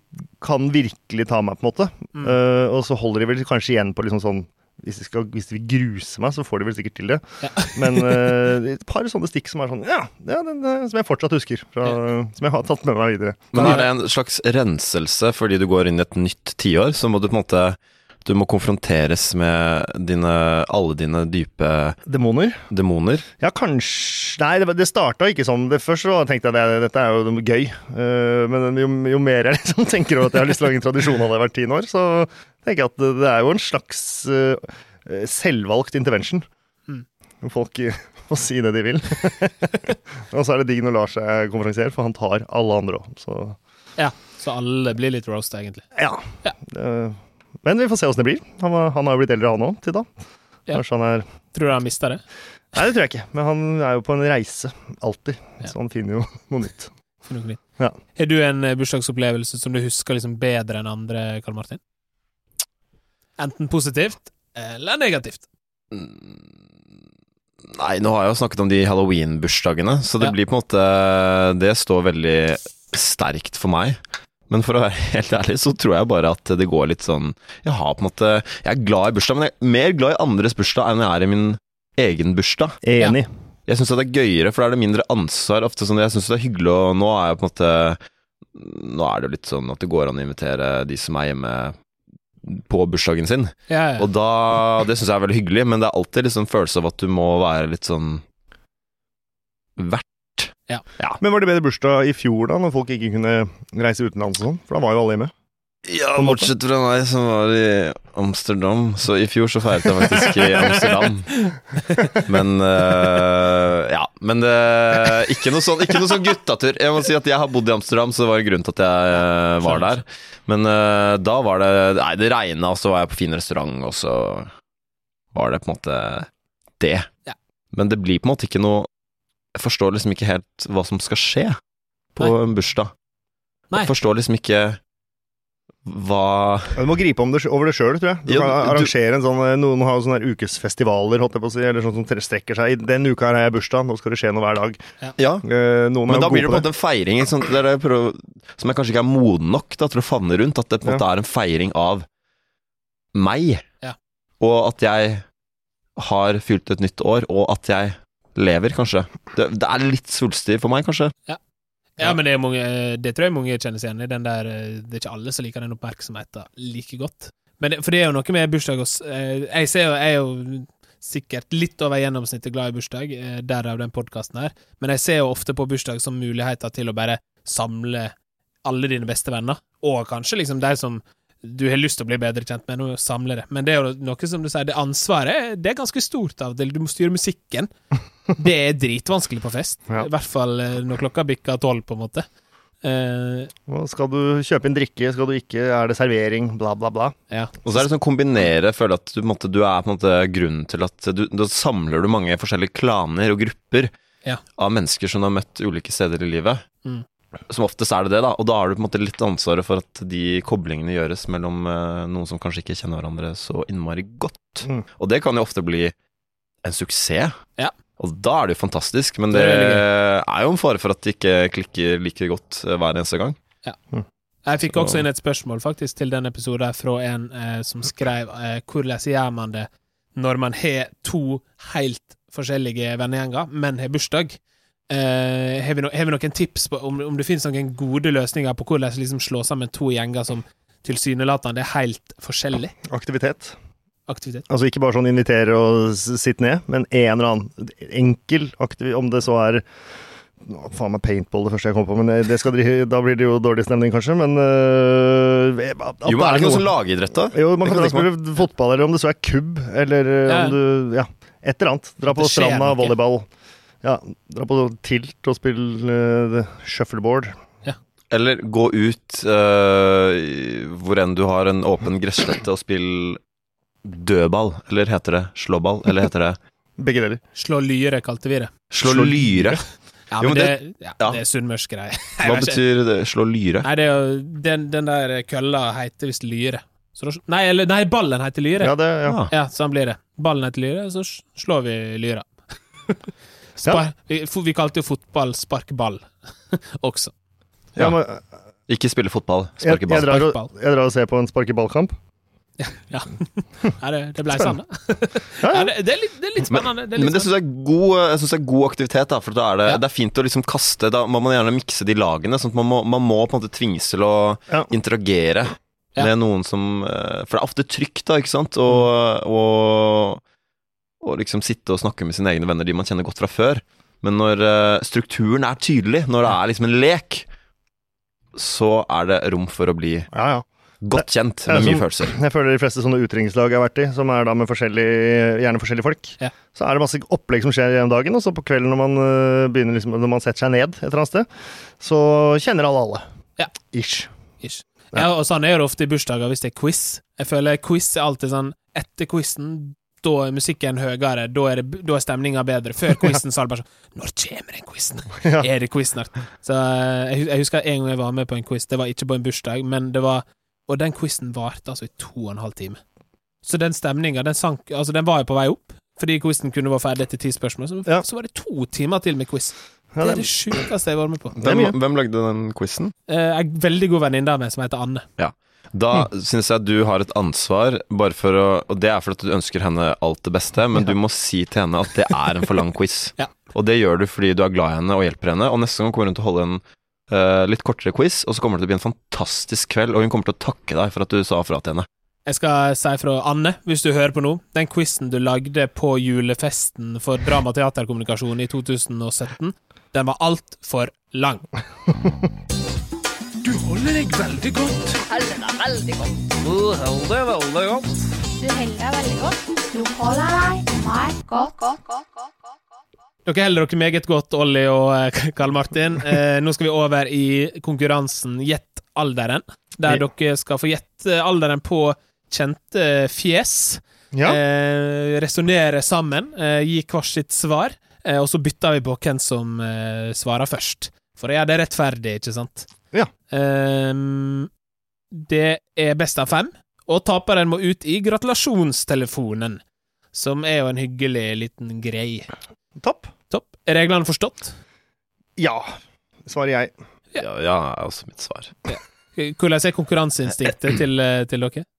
[SPEAKER 2] kan virkelig ta meg, på en måte.
[SPEAKER 1] Mm.
[SPEAKER 2] Eh, og så holder de vel kanskje igjen på liksom sånn hvis de, skal, hvis de vil gruse meg, så får de vel sikkert til det.
[SPEAKER 1] Ja.
[SPEAKER 2] Men eh, et par sånne stikk som er sånn Ja, ja den, eh, som jeg fortsatt husker. Fra, Som jeg har tatt med meg videre.
[SPEAKER 3] Men er det en slags renselse fordi du går inn i et nytt tiår, så må du på en måte Du må konfronteres med dine, alle dine dype
[SPEAKER 2] Demoner?
[SPEAKER 3] demoner.
[SPEAKER 2] Ja, kanskje Nei, det, var- det starta ikke sånn. Det Først så tenkte jeg at det- dette er jo gøy. Eh, men jo, jo mer jeg liksom tenker over at jeg har lyst til å lage en tradisjon av det hvert tiende år, så tenker jeg at det, det er jo en slags eh, eh, selvvalgt intervention.
[SPEAKER 1] Mm.
[SPEAKER 2] Folk eh, får si det de vil. og så er det digg når Lars er konferansier, for han tar alle andre òg. Så
[SPEAKER 1] Ja, så alle blir litt roast, egentlig.
[SPEAKER 2] ja.
[SPEAKER 1] Ja.
[SPEAKER 2] Eh, men vi får se åssen det blir. Han, var, han har jo blitt eldre, han òg, til da.
[SPEAKER 1] Ja.
[SPEAKER 2] Kanskje han er
[SPEAKER 1] Tror du han mista det?
[SPEAKER 2] Nei, det tror jeg ikke. Men han er jo på en reise, alltid.
[SPEAKER 1] Ja.
[SPEAKER 2] Så han finner jo noe nytt.
[SPEAKER 1] For noe nytt?
[SPEAKER 2] Ja.
[SPEAKER 1] Har du en eh, bursdagsopplevelse som du husker liksom bedre enn andre, Karl Martin? Enten positivt eller negativt.
[SPEAKER 3] Mm, Nei, nå har jeg jo snakket om de halloween-bursdagene, så det
[SPEAKER 1] Ja.
[SPEAKER 3] blir på en måte Det står veldig sterkt for meg. Men for å være helt ærlig, så tror jeg bare at det går litt sånn Jeg har på en måte Jeg er glad i bursdag, men jeg er mer glad i andres bursdag enn jeg er i min egen bursdag.
[SPEAKER 2] Enig.
[SPEAKER 3] Jeg syns det er gøyere, for da er det mindre ansvar. Ofte sånn, Jeg syns det er hyggelig, og nå er jeg på en måte Nå er det jo litt sånn at det går an å invitere de som er hjemme på bursdagen sin.
[SPEAKER 1] Ja, ja.
[SPEAKER 3] Og da Det syns jeg er veldig hyggelig, men det er alltid liksom følelse av at du må være litt sånn Vert.
[SPEAKER 2] Men var det bedre bursdag i fjor, da, når folk ikke kunne reise utenlands og sånn? For da var jo alle hjemme.
[SPEAKER 3] Ja,
[SPEAKER 2] På en måte.
[SPEAKER 3] bortsett fra meg som var i Amsterdam. Så i fjor så feiret jeg faktisk i Amsterdam. Men eh, Ja. Men det ikke noe sånn, ikke noe sånn guttatur. Jeg må si at jeg har bodd i Amsterdam, så det var en grunn til at jeg eh, var der. Men eh, da var det Nei, det regna, og så var jeg på fin restaurant, og så var det på en måte det.
[SPEAKER 1] Ja.
[SPEAKER 3] Men det blir på en måte ikke noe Jeg forstår liksom ikke helt hva som skal skje på
[SPEAKER 1] Nei.
[SPEAKER 3] en bursdag.
[SPEAKER 1] Nei.
[SPEAKER 3] Jeg forstår liksom ikke hva
[SPEAKER 2] Ja, Du må gripe om det, sj- over det sjøl, tror jeg. Du
[SPEAKER 3] Ja,
[SPEAKER 2] kan
[SPEAKER 3] du-
[SPEAKER 2] arrangere en sånn eh, Noen har jo sånne her ukesfestivaler, holdt jeg på å si, eller sånn som tre- strekker seg. I den uka her har jeg bursdag, nå skal det skje noe hver dag.
[SPEAKER 3] Ja,
[SPEAKER 2] Eh, Noen
[SPEAKER 3] men
[SPEAKER 2] er
[SPEAKER 3] da
[SPEAKER 2] jo
[SPEAKER 3] blir det
[SPEAKER 2] gode på
[SPEAKER 3] på en
[SPEAKER 2] det.
[SPEAKER 3] måte en feiring ikke sant? Det er det jeg prøver, som jeg kanskje ikke er moden nok da, til å favne rundt. At det på en
[SPEAKER 2] Ja.
[SPEAKER 3] måte er en feiring av meg,
[SPEAKER 1] Ja.
[SPEAKER 3] og at jeg har fylt et nytt år, og at jeg lever, kanskje. Det, det er litt svulstig for meg, kanskje.
[SPEAKER 1] Ja, men det, er mange, eh, det tror jeg mange kjenner seg igjen i. Den der, eh, det er ikke alle som liker den oppmerksomheten like godt. Men det, for det er jo noe med bursdag og s- eh, Jeg ser jo, jeg er jo sikkert litt over gjennomsnittet glad i bursdag, eh, derav den podkasten her, men jeg ser jo ofte på bursdag som muligheter til å bare samle alle dine beste venner, og kanskje liksom de som du har lyst til å bli bedre kjent med, og samle det. Men det er jo noe som du sier, det ansvaret det er ganske stort av og til. Du må styre musikken. Det er dritvanskelig på fest.
[SPEAKER 2] Ja.
[SPEAKER 1] I hvert fall eh, når klokka bikker tolv, på en måte. Eh,
[SPEAKER 2] Og Skal du kjøpe inn drikke, skal du ikke, er det servering, bla, bla, bla.
[SPEAKER 1] ja.
[SPEAKER 3] Og så er det sånn kombinere, føle at du, på en måte, du er på en måte grunnen til at du, Da samler du mange forskjellige klaner og grupper
[SPEAKER 1] Ja.
[SPEAKER 3] av mennesker som du har møtt ulike steder i livet.
[SPEAKER 1] Mm.
[SPEAKER 3] Som oftest er det det, da. Og da har du på en måte litt ansvaret for at de koblingene gjøres mellom eh, noen som kanskje ikke kjenner hverandre så innmari godt.
[SPEAKER 2] Mm.
[SPEAKER 3] Og det kan jo ofte bli en suksess.
[SPEAKER 1] Ja.
[SPEAKER 3] Og da er det jo fantastisk, men
[SPEAKER 1] Det
[SPEAKER 3] det
[SPEAKER 1] er veldig
[SPEAKER 3] er jo en fare for at det ikke klikker like godt eh, hver eneste gang.
[SPEAKER 1] Jeg fikk også inn et spørsmål faktisk til den episoden her fra en eh, som skrev eh, hvordan gjør man det når man har to helt forskjellige vennegjenger, men har bursdag? Eh, har, vi no har vi noen tips på om, om det finnes noen gode løsninger på hvordan liksom slå sammen to gjenger som tilsynelatende er helt forskjellig
[SPEAKER 2] Aktivitet.
[SPEAKER 1] aktivitet?
[SPEAKER 2] Altså ikke bare sånn invitere og s- sitte ned, men en eller annen enkel aktivitet, om det så er Nå, faen meg paintball det første jeg kommer på, men eh, det- det skal dere, da blir det jo dårlig stemning, kanskje. Men øh, at- at
[SPEAKER 3] Jo, men er det ikke noe som lagidrett, da?
[SPEAKER 2] Jo, man
[SPEAKER 3] Det
[SPEAKER 2] kan
[SPEAKER 3] kan
[SPEAKER 2] jo spille fotball, eller om det så er kubb, eller øh,
[SPEAKER 1] Ja.
[SPEAKER 2] om du Ja, et eller annet. Dra på
[SPEAKER 1] Det skjer
[SPEAKER 2] stranda,
[SPEAKER 1] noe.
[SPEAKER 2] volleyball. Ja, dra på tilt og spille øh, shuffleboard.
[SPEAKER 3] Eller gå ut eh, hvor enn du har en åpen gresslette og spill dødball, eller heter det slåball, eller heter det
[SPEAKER 2] Begge deler.
[SPEAKER 1] Slå lyre, kalte vi det.
[SPEAKER 3] slå,
[SPEAKER 2] Slå
[SPEAKER 3] lyre?
[SPEAKER 1] Ja,
[SPEAKER 3] Jo,
[SPEAKER 1] men
[SPEAKER 3] men
[SPEAKER 1] det, ja,
[SPEAKER 3] ja.
[SPEAKER 1] det er sunnmørsgreie. Jeg
[SPEAKER 3] Hva
[SPEAKER 1] vet ikke.
[SPEAKER 3] betyr det? slå lyre?
[SPEAKER 1] Nei, det er jo Den, den der kølla heter visst lyre. Så da, nei, eller, nei, ballen heter lyre.
[SPEAKER 2] Ja, det, ja.
[SPEAKER 3] Ah.
[SPEAKER 1] Ja, sånn blir det. Ballen heter lyre, så s- slår vi lyra. Spar, vi, fo- vi kalte jo fotball sparkball også.
[SPEAKER 2] ja.
[SPEAKER 3] Ja.
[SPEAKER 2] men,
[SPEAKER 3] Ikke spille fotball,
[SPEAKER 2] jeg,
[SPEAKER 3] sparke
[SPEAKER 2] jeg,
[SPEAKER 3] ball.
[SPEAKER 2] drar og, jeg drar og ser på en sparkeballkamp.
[SPEAKER 1] Nei, det, det ble sånn, da.
[SPEAKER 2] Ja, ja.
[SPEAKER 1] Ja, det, det, er litt, det er litt spennende. Det er
[SPEAKER 2] liksom.
[SPEAKER 3] Men
[SPEAKER 1] litt
[SPEAKER 3] det
[SPEAKER 1] spennende.
[SPEAKER 3] syns jeg, er god- eh, jeg synes det er god aktivitet, da, for da er det,
[SPEAKER 1] Ja.
[SPEAKER 3] det er fint å liksom kaste Da må man gjerne mikse de lagene, sånn at man må, man må på en måte tvinges til å
[SPEAKER 2] Ja.
[SPEAKER 3] interagere
[SPEAKER 1] Ja.
[SPEAKER 3] med noen som eh, For det er ofte trygt, da, ikke sant?
[SPEAKER 2] Mm.
[SPEAKER 3] Og, og, og liksom sitte og snakke med sine egne venner, de man kjenner godt fra før. Men når eh, strukturen er tydelig, når det er liksom en lek, så er det rom for å bli
[SPEAKER 2] ja, ja. sånn-
[SPEAKER 3] godt kjent
[SPEAKER 2] Det er
[SPEAKER 3] med mye
[SPEAKER 2] som-
[SPEAKER 3] følelser.
[SPEAKER 2] Jeg føler de fleste sånne utrykningslag jeg har vært i, som er da med forskjellig, gjerne forskjellige folk,
[SPEAKER 1] Ja.
[SPEAKER 2] så er det masse opplegg som skjer gjennom dagen, og så på kvelden når man, øh, begynner liksom, når man setter seg ned et eller annet sted, så kjenner alle alle.
[SPEAKER 1] Ja.
[SPEAKER 2] Ish.
[SPEAKER 1] Ish. Ja, og sånn er det ofte i bursdager hvis det er quiz. Jeg føler quiz er alltid sånn Etter quizen, da er musikken høyere, da er, det- da er stemninga bedre. Før quizen så er det bare sånn Når kommer den quizen?
[SPEAKER 2] Ja.
[SPEAKER 1] Er det quiz snart? Så eh, jeg, hus- jeg husker en gang jeg var med på en quiz. Det var ikke på en bursdag, men det var Og den quizen varte altså i to og en halv time. Så den stemninga, den sank Altså, den var jo på vei opp. Fordi quizen kunne vært ferdig etter ti spørsmål. Så,
[SPEAKER 2] Ja.
[SPEAKER 1] så var det to timer til med quiz.
[SPEAKER 2] Ja,
[SPEAKER 1] det
[SPEAKER 2] det-
[SPEAKER 1] er det sjukeste jeg har vært med på.
[SPEAKER 2] er
[SPEAKER 3] Hvem, hvem lagde den quizen?
[SPEAKER 1] Eh, en veldig god venninne av meg som heter Anne.
[SPEAKER 3] Da
[SPEAKER 1] Mm.
[SPEAKER 3] syns jeg du har et ansvar, bare for å, og det er fordi du ønsker henne alt det beste, men du må si til henne at det er en for lang quiz.
[SPEAKER 1] Ja.
[SPEAKER 3] Og det gjør du fordi du er glad i henne og hjelper henne, og neste gang kommer hun til å holde en eh, litt kortere quiz, og så kommer det til å bli en fantastisk kveld, og hun kommer til å takke deg for at du sa fra til henne.
[SPEAKER 1] Jeg skal si fra Anne, hvis du hører på nå. Den quizen du lagde på julefesten for Drama og teaterkommunikasjon i 2017, den var altfor lang.
[SPEAKER 4] Du holder deg veldig godt.
[SPEAKER 5] Heller deg veldig godt.
[SPEAKER 4] Du holder deg veldig godt.
[SPEAKER 5] Du heller deg veldig godt. Du holder deg meg godt. godt, godt, godt, godt, godt.
[SPEAKER 1] Dere holder dere meget godt, Olli og eh, Karl Martin. Eh, nå skal vi over i konkurransen Gjett alderen, der
[SPEAKER 2] Ja.
[SPEAKER 1] dere skal få gjette alderen på kjente fjes.
[SPEAKER 2] Ja.
[SPEAKER 1] Eh, Resonnere sammen, eh, gi hvert sitt svar, eh, og så bytter vi på hvem som eh, svarer først. For jeg gjør det rettferdig, ikke sant?
[SPEAKER 2] Ja.
[SPEAKER 1] Eh, det er best av fem, og taperen må ut i gratulasjonstelefonen, som er jo en hyggelig liten grei. eh.
[SPEAKER 2] Topp.
[SPEAKER 1] Topp. Er reglene forstått?
[SPEAKER 2] Ja, svarer jeg.
[SPEAKER 3] Ja, ja er også mitt svar.
[SPEAKER 1] Hvordan er konkurranseinstinktet til, eh, til dere?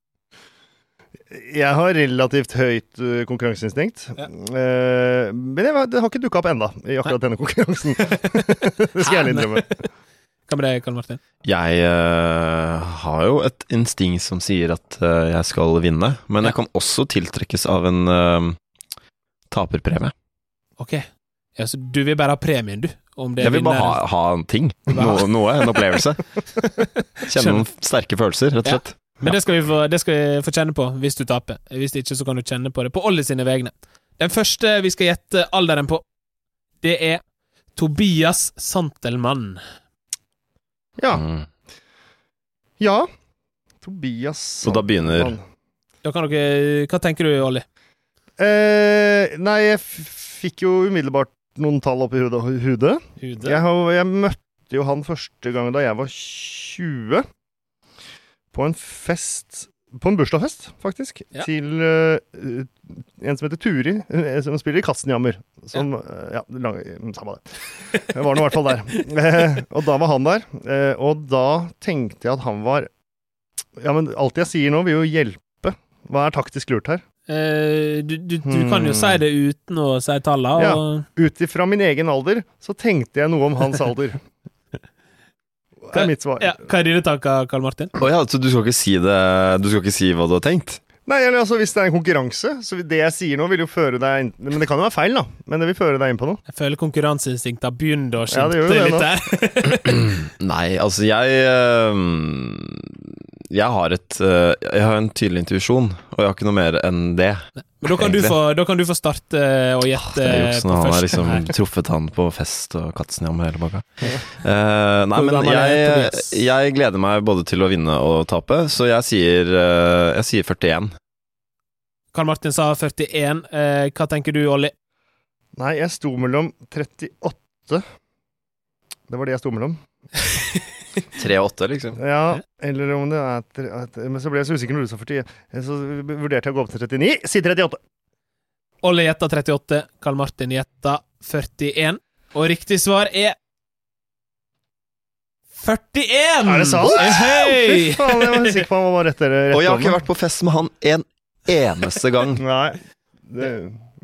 [SPEAKER 2] Jeg har relativt høyt øh, konkurranseinstinkt,
[SPEAKER 1] Ja.
[SPEAKER 2] Eh, men jeg, vet- det har ikke dukket opp enda i akkurat denne konkurransen. det skal jeg ærlig innrømme.
[SPEAKER 1] Hva med deg, Karl Martin?
[SPEAKER 3] Jeg eh, har jo et instinkt som sier at eh, jeg skal vinne, men
[SPEAKER 1] Ja.
[SPEAKER 3] jeg kan også tiltrekkes av en eh, taperpremie.
[SPEAKER 1] Ok. Ja, så du vil bare ha premien, du? Om det
[SPEAKER 3] Jeg vil bare
[SPEAKER 1] vinner-
[SPEAKER 3] ha, ha en ting.
[SPEAKER 1] vil ha-
[SPEAKER 3] Noe, noe. En opplevelse. Kjenne noen sterke følelser, rett og
[SPEAKER 1] Ja.
[SPEAKER 3] slett.
[SPEAKER 1] Men det skal, vi få, det skal vi få kjenne på hvis du taper. Hvis ikke, så kan du kjenne på det på alle sine vegne. Den første vi skal gjette alderen på, det er Tobias Santelmann.
[SPEAKER 2] Ja.
[SPEAKER 3] Mm.
[SPEAKER 2] ja. Tobias
[SPEAKER 3] Og da begynner
[SPEAKER 1] Sånn.
[SPEAKER 2] Sandmann.
[SPEAKER 1] Da kan dere, hva tenker du, Olli?
[SPEAKER 2] Eh, nei, jeg f- fikk jo umiddelbart noen tall opp i hodet. hodet.
[SPEAKER 1] Hude?
[SPEAKER 2] Jeg, har, jeg møtte jo han første gang da jeg var 20. På en fest På en bursdagsfest, faktisk.
[SPEAKER 1] Ja.
[SPEAKER 2] Til eh, en som heter Turi, eh, som spiller i Katzenjammer. Som, eh, ja, lang, mm, samme det. Jeg var nå i hvert fall der. Eh, og da var han der, eh, og da tenkte jeg at han var Ja, men alt jeg sier nå, vil jo hjelpe. Hva er taktisk lurt her?
[SPEAKER 1] Eh, du, du, du kan jo si det uten å si tallene. Og...
[SPEAKER 2] Ut ifra min egen alder, så tenkte jeg noe om hans alder. Det er mitt svar.
[SPEAKER 1] Ja, hva er dine tanker, Karl Martin?
[SPEAKER 3] Å ja, så du skal ikke si det Du skal ikke si hva du har tenkt?
[SPEAKER 2] Nei, eller altså, Hvis det er en konkurranse så Det jeg sier nå, vil jo føre deg inn Men det kan jo være feil, da. Men det vil føre deg inn på noe.
[SPEAKER 1] Jeg føler konkurranseinstinktet begynner å
[SPEAKER 2] Ja,
[SPEAKER 1] skinte
[SPEAKER 2] det gjør jo det
[SPEAKER 1] litt
[SPEAKER 2] nå.
[SPEAKER 1] der.
[SPEAKER 3] Nei, altså jeg eh, Jeg har et eh, Jeg har en tydelig intuisjon, og jeg har ikke noe mer enn det.
[SPEAKER 1] Men da kan, du
[SPEAKER 3] Egentlig. Ah,
[SPEAKER 1] få, da kan du få starte og gjette
[SPEAKER 3] Det er
[SPEAKER 1] eh,
[SPEAKER 3] juksen.
[SPEAKER 1] på
[SPEAKER 3] Han har
[SPEAKER 1] første
[SPEAKER 3] liksom
[SPEAKER 1] her.
[SPEAKER 3] truffet han på fest og Katzenjammer og hele pakka. Eh, nei,
[SPEAKER 1] Hvor
[SPEAKER 3] men
[SPEAKER 1] gammel er
[SPEAKER 3] jeg,
[SPEAKER 1] Tobias?
[SPEAKER 3] jeg gleder meg både til å vinne og tape, så jeg sier, eh, jeg sier 41.
[SPEAKER 1] Karl Martin sa 41. Eh, hva tenker du, Olli?
[SPEAKER 2] Nei, jeg sto mellom 38 Det var det jeg sto mellom.
[SPEAKER 3] 3 og 8, liksom.
[SPEAKER 2] Ja, eller om det er tre- at- Men så ble jeg så usikker når du sa 40. Så vurderte jeg å gå opp til 39. Si 38.
[SPEAKER 1] Olli gjetta 38. Karl Martin gjetta 41. Og riktig svar er 41!
[SPEAKER 2] Er det sant?
[SPEAKER 1] Mm.
[SPEAKER 2] Fy
[SPEAKER 1] Hei!
[SPEAKER 2] faen, jeg var sikker på han var rett der.
[SPEAKER 3] Og jeg har ikke vært på fest med han en eneste gang.
[SPEAKER 2] Nei. Det,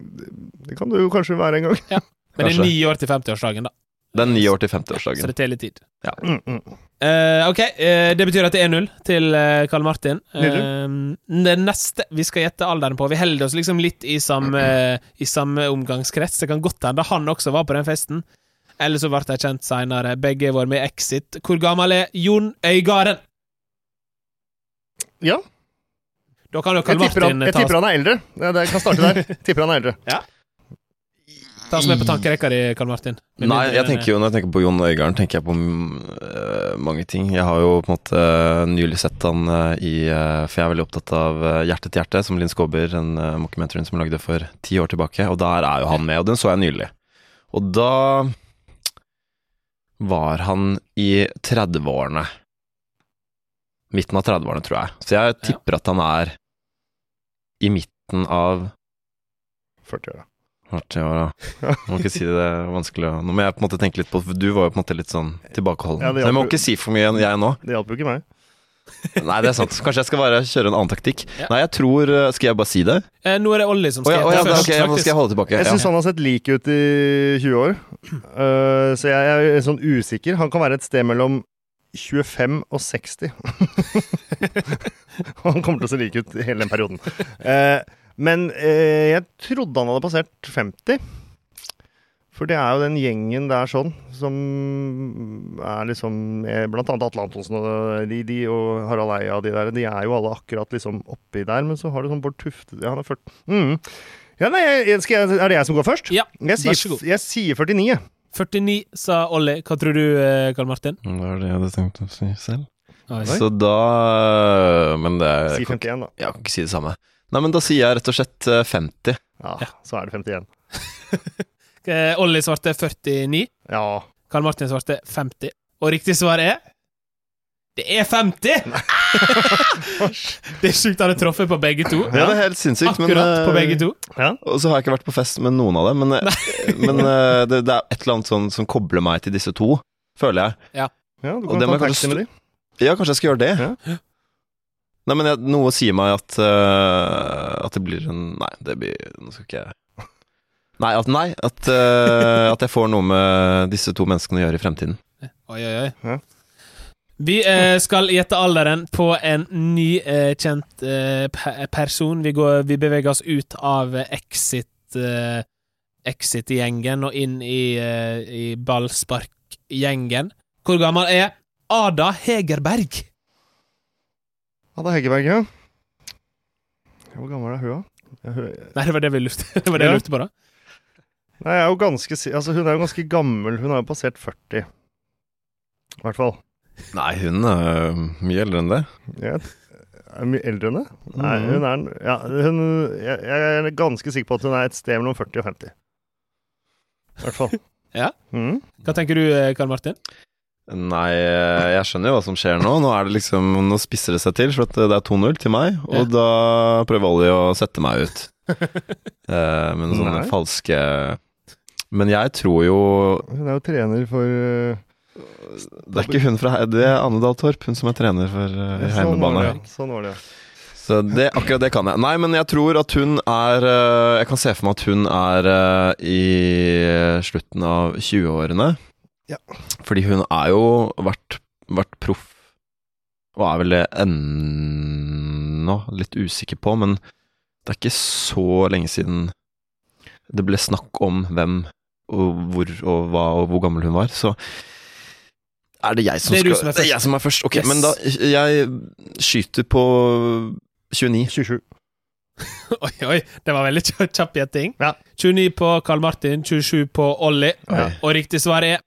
[SPEAKER 2] det, det kan du jo kanskje være en gang.
[SPEAKER 1] Men det er
[SPEAKER 3] Kanskje.
[SPEAKER 1] ni år til 50-årsdagen, da,
[SPEAKER 3] Det er 9 år til
[SPEAKER 1] så
[SPEAKER 3] 50-årsdagen.
[SPEAKER 1] det teller tid.
[SPEAKER 2] Mm, mm.
[SPEAKER 1] Eh, ok, eh, det betyr at det er 1-0 til eh, Karl Martin. Eh, det neste vi skal gjette alderen på Vi holder oss liksom litt i samme, i samme omgangskrets. Det kan godt hende han også var på den festen. Eller så ble de kjent seinere. Begge var med i Exit. Hvor gammel er Jon Øygarden?
[SPEAKER 2] Ja.
[SPEAKER 1] Da kan jo
[SPEAKER 2] Jeg
[SPEAKER 1] Karl
[SPEAKER 2] tipper, han,
[SPEAKER 1] Martin
[SPEAKER 2] jeg
[SPEAKER 1] ta,
[SPEAKER 2] tipper han er eldre. Ja, det- Jeg kan starte der. Tipper han er eldre.
[SPEAKER 1] ta oss med på tankerekka di, Karl Martin. Med
[SPEAKER 3] Nei,
[SPEAKER 1] mindre
[SPEAKER 3] jeg
[SPEAKER 1] enn-
[SPEAKER 3] tenker jo, når jeg tenker på Jon Øigarden, tenker jeg på mm, øh, mange ting. Jeg har jo på en måte øh, nylig sett han øh, i øh, For jeg er veldig opptatt av øh, Hjerte til hjerte, som Linn Skåber, den uh, mockumentary'n som hun lagde for ti år tilbake. Og der er jo han med, og den så jeg nylig. Og da var han i 30-årene. Midten av 30-årene, tror jeg. Så jeg tipper at han er i midten av
[SPEAKER 2] 40 år, da.
[SPEAKER 3] Artig år, da. Må ikke si det, det er vanskelig å Nå må jeg på en måte tenke litt på for Du var jo på en måte litt sånn tilbakeholden.
[SPEAKER 2] Ja, det
[SPEAKER 3] så jeg må
[SPEAKER 2] hjalp jo.
[SPEAKER 3] ikke si for mye enn jeg nå.
[SPEAKER 2] Det hjalp jo ikke meg.
[SPEAKER 3] Nei, det er sant. Kanskje jeg skal bare kjøre en annen taktikk.
[SPEAKER 1] Ja.
[SPEAKER 3] Nei, jeg tror eh, Skal jeg bare si det?
[SPEAKER 1] Eh, Nå er det Olli som
[SPEAKER 3] Å
[SPEAKER 1] skal
[SPEAKER 3] ja, å, ja,
[SPEAKER 1] gjette
[SPEAKER 3] da,
[SPEAKER 1] først.
[SPEAKER 3] ok, jeg må-
[SPEAKER 1] faktisk.
[SPEAKER 3] skal jeg holde tilbake.
[SPEAKER 2] Jeg syns
[SPEAKER 3] Ja.
[SPEAKER 2] han har sett lik ut i 20 år, Eh, så jeg er sånn usikker. Han kan være et sted mellom 25 og 60. han kommer til å se lik ut hele den perioden. Eh, men eh, jeg trodde han hadde passert 50. For det er jo den gjengen der sånn, som er liksom eh, Blant annet Atle Antonsen og de, de og Harald Eia og de der. De er jo alle akkurat liksom oppi der, men så har du sånn Bård Tufte ja, Han er 40. Mm. Ja, nei, jeg, skal jeg, er det jeg som går først?
[SPEAKER 1] Ja,
[SPEAKER 2] jeg sier,
[SPEAKER 1] vær så god.
[SPEAKER 2] Jeg sier 49, jeg.
[SPEAKER 1] 49, sa Olli. Hva tror du, eh, Karl Martin?
[SPEAKER 3] Det var det jeg hadde tenkt å si selv.
[SPEAKER 1] Oi.
[SPEAKER 3] Så da eh, Men det
[SPEAKER 2] Si
[SPEAKER 3] jeg kan,
[SPEAKER 2] 51, da.
[SPEAKER 3] jeg kan ikke si det samme. Nei, men da sier jeg rett og slett eh, 50.
[SPEAKER 2] Ja,
[SPEAKER 1] Ja.
[SPEAKER 2] Så er det 51.
[SPEAKER 1] Eh, Olli svarte 49.
[SPEAKER 2] Ja.
[SPEAKER 1] Karl Martin svarte 50. Og riktig svar er Det er 50! det er sjukt, han har truffet på begge to.
[SPEAKER 3] Ja, det er helt sinnssykt. men,
[SPEAKER 1] Akkurat på
[SPEAKER 3] eh,
[SPEAKER 1] begge to.
[SPEAKER 3] Og så har jeg ikke vært på fest med noen av dem, men, men eh, det, det er et eller annet sånn som kobler meg til disse to, føler jeg.
[SPEAKER 2] ja du
[SPEAKER 3] Og
[SPEAKER 2] kan
[SPEAKER 3] det må
[SPEAKER 2] ta
[SPEAKER 3] jeg
[SPEAKER 2] taxi
[SPEAKER 3] kanskje
[SPEAKER 2] med de.
[SPEAKER 3] Ja, kanskje jeg skal gjøre det.
[SPEAKER 2] Ja.
[SPEAKER 3] Nei, men jeg, noe sier meg at øh, At det blir en Nei, det blir Nå skal ikke jeg Nei, at, nei, at, øh, at jeg får noe med disse to menneskene å gjøre i fremtiden.
[SPEAKER 1] Oi, oi, oi.
[SPEAKER 2] Ja.
[SPEAKER 1] Vi eh, skal gjette alderen på en ny eh, kjent eh, pe- person. Vi, går, vi beveger oss ut av eh, Exit eh, Exit-gjengen og inn i, eh, i ballspark-gjengen. Hvor gammel er Ada Hegerberg?
[SPEAKER 2] Ada Heggeberg, ja. Hvor gammel er hun, da? Jeg hø-
[SPEAKER 1] Nei, det var det vi lurte, det var det
[SPEAKER 2] Ja.
[SPEAKER 1] jeg lurte på, da.
[SPEAKER 2] Nei, jeg er jo ganske, si- altså, hun er jo ganske gammel. Hun har jo passert 40. I hvert fall.
[SPEAKER 3] Nei, hun er mye eldre enn det.
[SPEAKER 2] Jeg er mye eldre enn det. Nei,
[SPEAKER 3] Mhm.
[SPEAKER 2] hun er, en- ja, hun, jeg, jeg er ganske sikker på at hun er et sted mellom 40 og 50. I hvert fall.
[SPEAKER 1] Ja.
[SPEAKER 2] Mm.
[SPEAKER 1] Hva tenker du, eh, Karl Martin?
[SPEAKER 3] Nei, øh, jeg skjønner jo hva som skjer nå. Nå er det liksom Nå spisser det seg til, for at eh, det er 2-0 til meg, og da prøver Ollie å sette meg ut eh, med noen sånne
[SPEAKER 2] Nei.
[SPEAKER 3] falske Men jeg tror jo
[SPEAKER 2] Hun er jo trener for eh,
[SPEAKER 3] Det er ikke hun fra Det er Anne Dahl Torp, hun som er trener for
[SPEAKER 2] Sånn
[SPEAKER 3] eh,
[SPEAKER 2] var
[SPEAKER 3] hjemmebane.
[SPEAKER 2] det, ja. Sånn var det, ja.
[SPEAKER 3] Så det, akkurat det kan jeg. Nei, men jeg tror at hun er eh, Jeg kan se for meg at hun er eh, i slutten av 20-årene.
[SPEAKER 2] Ja.
[SPEAKER 3] Fordi hun er jo vært, vært proff, og er vel det ennå litt usikker på, men det er ikke så lenge siden det ble snakk om hvem og hvor og hva og hvor gammel hun var, så er det jeg som
[SPEAKER 1] Det er du
[SPEAKER 3] skal
[SPEAKER 1] som er
[SPEAKER 3] Det er
[SPEAKER 1] først.
[SPEAKER 3] jeg som er først. Ok,
[SPEAKER 1] Yes.
[SPEAKER 3] men da Jeg skyter på 29.
[SPEAKER 2] 27.
[SPEAKER 1] Oi, oi, det var veldig kjapp kjapp gjetting.
[SPEAKER 2] Ja.
[SPEAKER 1] 29 på Carl Martin, 27 på Ollie,
[SPEAKER 3] Oi.
[SPEAKER 1] og riktig svar er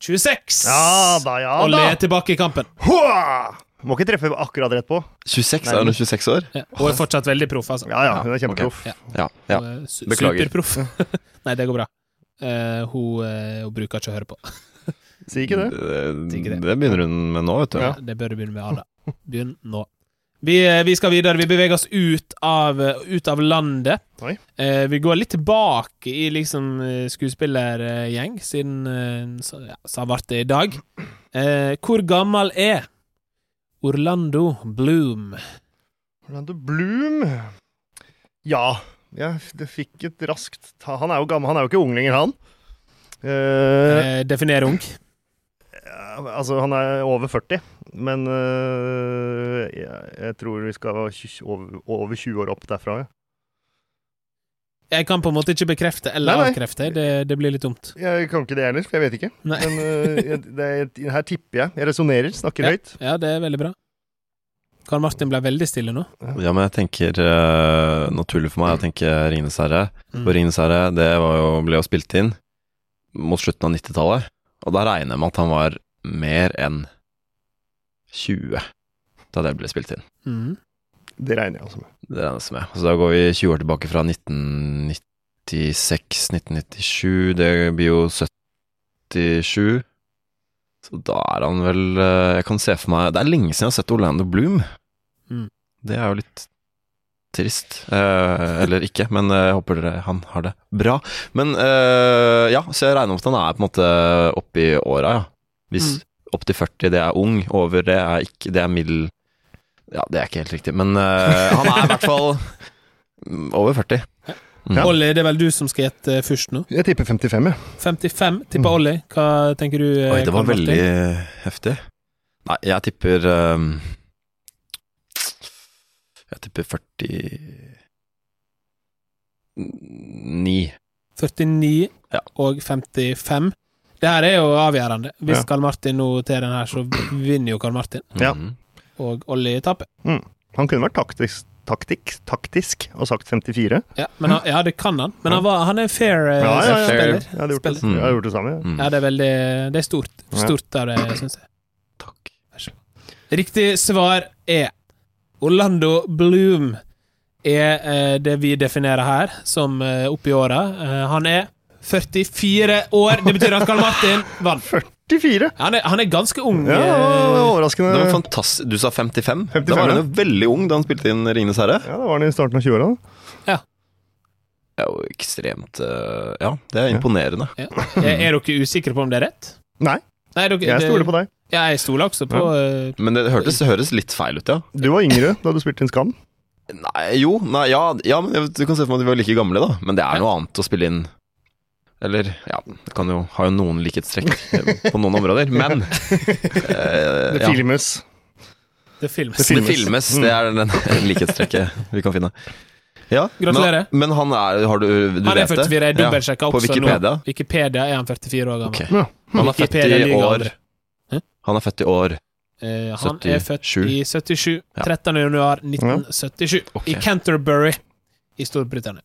[SPEAKER 1] 26!
[SPEAKER 2] Ja da, ja da!
[SPEAKER 1] Ollie er tilbake i kampen.
[SPEAKER 2] Hua! Må ikke treffe akkurat rett på.
[SPEAKER 3] 26?
[SPEAKER 2] Nei,
[SPEAKER 3] Er
[SPEAKER 2] men-
[SPEAKER 3] hun 26 år?
[SPEAKER 1] Ja, Hun er fortsatt veldig proff, altså.
[SPEAKER 2] Ja ja,
[SPEAKER 3] Ja,
[SPEAKER 2] hun er kjempeproff.
[SPEAKER 1] ok.
[SPEAKER 3] Ja. ja.
[SPEAKER 1] Hun er su-
[SPEAKER 3] Beklager.
[SPEAKER 1] Superproff. Nei, det går bra. Eh, hun, eh, hun bruker ikke å høre på.
[SPEAKER 2] Si ikke det.
[SPEAKER 1] Ikke
[SPEAKER 3] Det,
[SPEAKER 1] det.
[SPEAKER 3] det begynner hun med nå, vet du.
[SPEAKER 2] Ja.
[SPEAKER 1] Det bør du begynne med, Ada. Begynn nå. Vi, eh, vi skal videre. Vi beveger oss ut av, eh, ut av landet.
[SPEAKER 2] Oi.
[SPEAKER 1] Eh, vi går litt tilbake i liksom eh, skuespillergjeng, siden eh, så, ja, så ble det i dag. Eh, hvor gammel er Orlando Bloom?
[SPEAKER 2] Orlando Bloom Ja, jeg f- det fikk et raskt ta. Han er jo gammel, han er jo ikke ung lenger, han.
[SPEAKER 1] Eh,
[SPEAKER 2] Eh,
[SPEAKER 1] definer ung.
[SPEAKER 2] ja, altså, han er over 40, men eh, jeg, jeg tror vi skal være tjue- over, over 20 år opp derfra. Ja.
[SPEAKER 1] Jeg kan på en måte ikke bekrefte eller
[SPEAKER 2] Nei, nei.
[SPEAKER 1] avkrefte. Det, det blir litt dumt.
[SPEAKER 2] Jeg kan ikke det heller, for jeg vet ikke.
[SPEAKER 1] Nei.
[SPEAKER 2] Men eh, jeg, det, er- her tipper jeg. Jeg resonnerer, snakker
[SPEAKER 1] Ja.
[SPEAKER 2] høyt.
[SPEAKER 1] Ja, det er veldig bra. Karl Martin ble veldig stille nå.
[SPEAKER 3] Ja, men jeg tenker eh, naturlig for meg å tenke Ringenes herre.
[SPEAKER 1] Mm.
[SPEAKER 3] Og Ringenes herre det var jo, ble jo spilt inn mot slutten av 90-tallet. Og da regner jeg med at han var mer enn 20 da det ble spilt inn.
[SPEAKER 1] Mm.
[SPEAKER 2] Det regner jeg også med.
[SPEAKER 3] Det regnes med. Så da går vi 20 år tilbake fra 1996, 1997 Det blir jo 77. Så da er han vel eh, Jeg kan se for meg Det er lenge siden jeg har sett Orlando Bloom.
[SPEAKER 1] Mm.
[SPEAKER 3] Det er jo litt trist. Eh, eller ikke, men eh, jeg håper dere han har det bra. Men eh, ja, så jeg regner med at han er på en måte oppi åra, ja. Hvis opp til 40 det er ung, over det er ikke Det er middel ja, det er ikke helt riktig, men eh, han er i hvert fall mm, over 40. Mm.
[SPEAKER 1] Olli, det er vel du som skal gjette først nå?
[SPEAKER 2] Jeg tipper 55, jeg.
[SPEAKER 1] 55 tipper Olli. Hva tenker du?
[SPEAKER 3] Oi, det var
[SPEAKER 1] Karl Martin?
[SPEAKER 3] veldig heftig. Nei, jeg tipper ehm, Jeg tipper 49.
[SPEAKER 1] 49
[SPEAKER 3] Ja.
[SPEAKER 1] og 55. Det her er jo avgjørende. Hvis
[SPEAKER 2] Ja.
[SPEAKER 1] Karl Martin nå tar den her, så vinner jo Karl Martin.
[SPEAKER 2] Ja.
[SPEAKER 3] Mhm.
[SPEAKER 1] Og Olli taper.
[SPEAKER 2] Han kunne vært taktisk, taktikk, taktisk og sagt 54.
[SPEAKER 1] Ja, men han, ja, det kan han. Men han, var, han er fair eh,
[SPEAKER 2] Ja, ja, ja.
[SPEAKER 1] spiller.
[SPEAKER 2] Jeg hadde gjort det,
[SPEAKER 3] Spiller.
[SPEAKER 2] jeg hadde gjort det samme. jeg.
[SPEAKER 3] Mm.
[SPEAKER 1] Ja, det er veldig Det er stort.
[SPEAKER 2] Ja.
[SPEAKER 1] Stort av det, syns jeg.
[SPEAKER 3] Takk.
[SPEAKER 1] Riktig svar er Orlando Bloom er eh, det vi definerer her som eh, oppi åra. Eh, han er 44 år. Det betyr at Karl Martin vant.
[SPEAKER 2] 44!
[SPEAKER 1] Han er, han er ganske ung.
[SPEAKER 2] Ja, det var
[SPEAKER 1] eh,
[SPEAKER 2] overraskende.
[SPEAKER 3] Det var fantastisk. Du sa 55.
[SPEAKER 2] 55,
[SPEAKER 3] Da var han
[SPEAKER 2] ja.
[SPEAKER 3] jo veldig ung da han spilte inn 'Ringenes herre'.
[SPEAKER 2] Ja, det var den i starten av 20-åra. da.
[SPEAKER 3] Det er jo ekstremt eh, Ja, det er imponerende.
[SPEAKER 1] eh, er er dere usikre på om det er rett?
[SPEAKER 2] Nei,
[SPEAKER 1] Nei, dere,
[SPEAKER 2] jeg stoler på deg.
[SPEAKER 1] Ja, jeg stoler også på eh,
[SPEAKER 3] Men det hørtes, det høres litt feil ut, ja.
[SPEAKER 2] Du var yngre da du spilte inn Skam.
[SPEAKER 3] Nei, jo, nei, ja, ja men jeg- du kan se for meg at vi var like gamle, da. Men det er noe annet å spille inn Eller, ja, det kan jo ha jo noen likhetstrekk eh, på noen områder, men eh,
[SPEAKER 2] Det
[SPEAKER 3] ja.
[SPEAKER 2] filmes.
[SPEAKER 1] The Films.
[SPEAKER 3] Det filmes. Det er den likhetstrekket vi kan finne. Ja,
[SPEAKER 1] Mm. Gratulerer.
[SPEAKER 3] Men, men han er Har du, du
[SPEAKER 1] Han er
[SPEAKER 3] vet det?
[SPEAKER 1] 44, jeg
[SPEAKER 3] Ja,
[SPEAKER 1] dobbeltsjekka
[SPEAKER 3] På
[SPEAKER 1] også
[SPEAKER 3] Wikipedia?
[SPEAKER 1] nå. Wikipedia er han 44 år gammel.
[SPEAKER 3] Ok.
[SPEAKER 2] Ja.
[SPEAKER 3] Han er født
[SPEAKER 1] Wikipedia
[SPEAKER 3] i
[SPEAKER 1] lyver
[SPEAKER 3] år.
[SPEAKER 1] aldri. Hæ?
[SPEAKER 3] Han er født i år.
[SPEAKER 1] Eh, han er født
[SPEAKER 3] 77.
[SPEAKER 1] i 77.
[SPEAKER 3] Ja.
[SPEAKER 1] 13. januar 1977.
[SPEAKER 3] Ok.
[SPEAKER 1] I Canterbury i Storbritannia.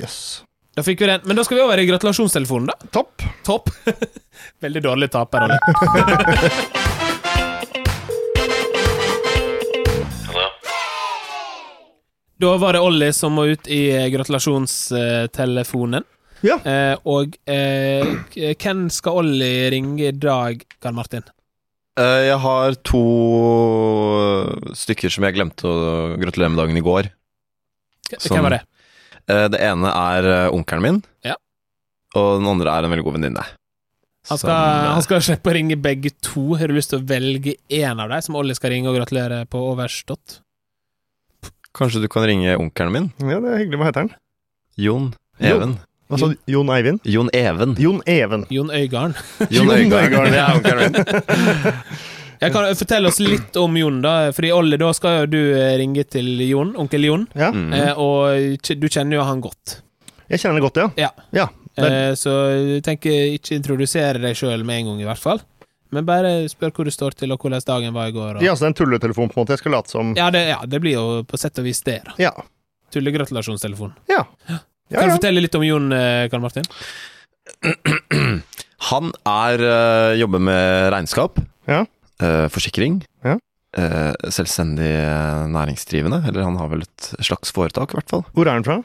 [SPEAKER 2] Yes.
[SPEAKER 1] Da fikk vi den. Men da skal vi over i gratulasjonstelefonen, da.
[SPEAKER 2] Topp.
[SPEAKER 1] Topp. Veldig dårlig taper, Anne. Da var det Olli som må ut i eh, gratulasjonstelefonen.
[SPEAKER 2] Ja.
[SPEAKER 1] Eh, og eh, k- hvem skal Olli ringe i dag, Karl Martin?
[SPEAKER 3] Eh, Jeg har to stykker som jeg glemte å gratulere med dagen i går.
[SPEAKER 1] K-
[SPEAKER 3] Som-
[SPEAKER 1] Hvem var det?
[SPEAKER 3] Eh, Det ene er eh, onkelen min.
[SPEAKER 1] Ja.
[SPEAKER 3] og den andre er en veldig god venninne.
[SPEAKER 1] Han
[SPEAKER 3] Som,
[SPEAKER 1] skal,
[SPEAKER 3] eh,
[SPEAKER 1] han skal slippe å ringe begge to. Har du lyst til å velge én av dem, som Olli skal ringe og gratulere på overstått?
[SPEAKER 3] Kanskje du kan ringe onkelen min?
[SPEAKER 2] Ja, det er hyggelig. Hva heter han?
[SPEAKER 3] Jon
[SPEAKER 2] Jo.
[SPEAKER 3] Even.
[SPEAKER 2] Hva sa du? Jon Eivind?
[SPEAKER 3] Jon Even.
[SPEAKER 2] Jon Even.
[SPEAKER 1] Jon Øygarden.
[SPEAKER 2] Jon Øygarden.
[SPEAKER 3] Det er onkelen min.
[SPEAKER 1] Jeg kan Fortell oss litt om Jon, da. Fordi Olli, da skal jo du eh, ringe til Jon, onkel Jon.
[SPEAKER 2] Ja,
[SPEAKER 3] Mm.
[SPEAKER 1] Eh, og kj- du kjenner jo han godt.
[SPEAKER 2] jeg kjenner det godt, ja.
[SPEAKER 1] Eh, så jeg tenker ikke introdusere deg sjøl med en gang, i hvert fall. Men bare spør hvor du står til, og hvordan dagen var i går. Og...
[SPEAKER 2] Ja, så det er en tulletelefon på en måte. Jeg skal late som
[SPEAKER 1] Ja, det, ja, det blir jo på sett og vis det, da.
[SPEAKER 2] Ja.
[SPEAKER 1] Tullegratulasjonstelefon.
[SPEAKER 2] Ja,
[SPEAKER 1] Kan du
[SPEAKER 2] ja.
[SPEAKER 1] fortelle litt om Jon, eh, Karl Martin?
[SPEAKER 3] Han er eh, jobber med regnskap.
[SPEAKER 2] Ja.
[SPEAKER 3] eh, forsikring.
[SPEAKER 2] Ja.
[SPEAKER 3] eh, selvstendig eh, næringsdrivende. Eller han har vel et slags foretak, i hvert fall.
[SPEAKER 2] Hvor er han fra?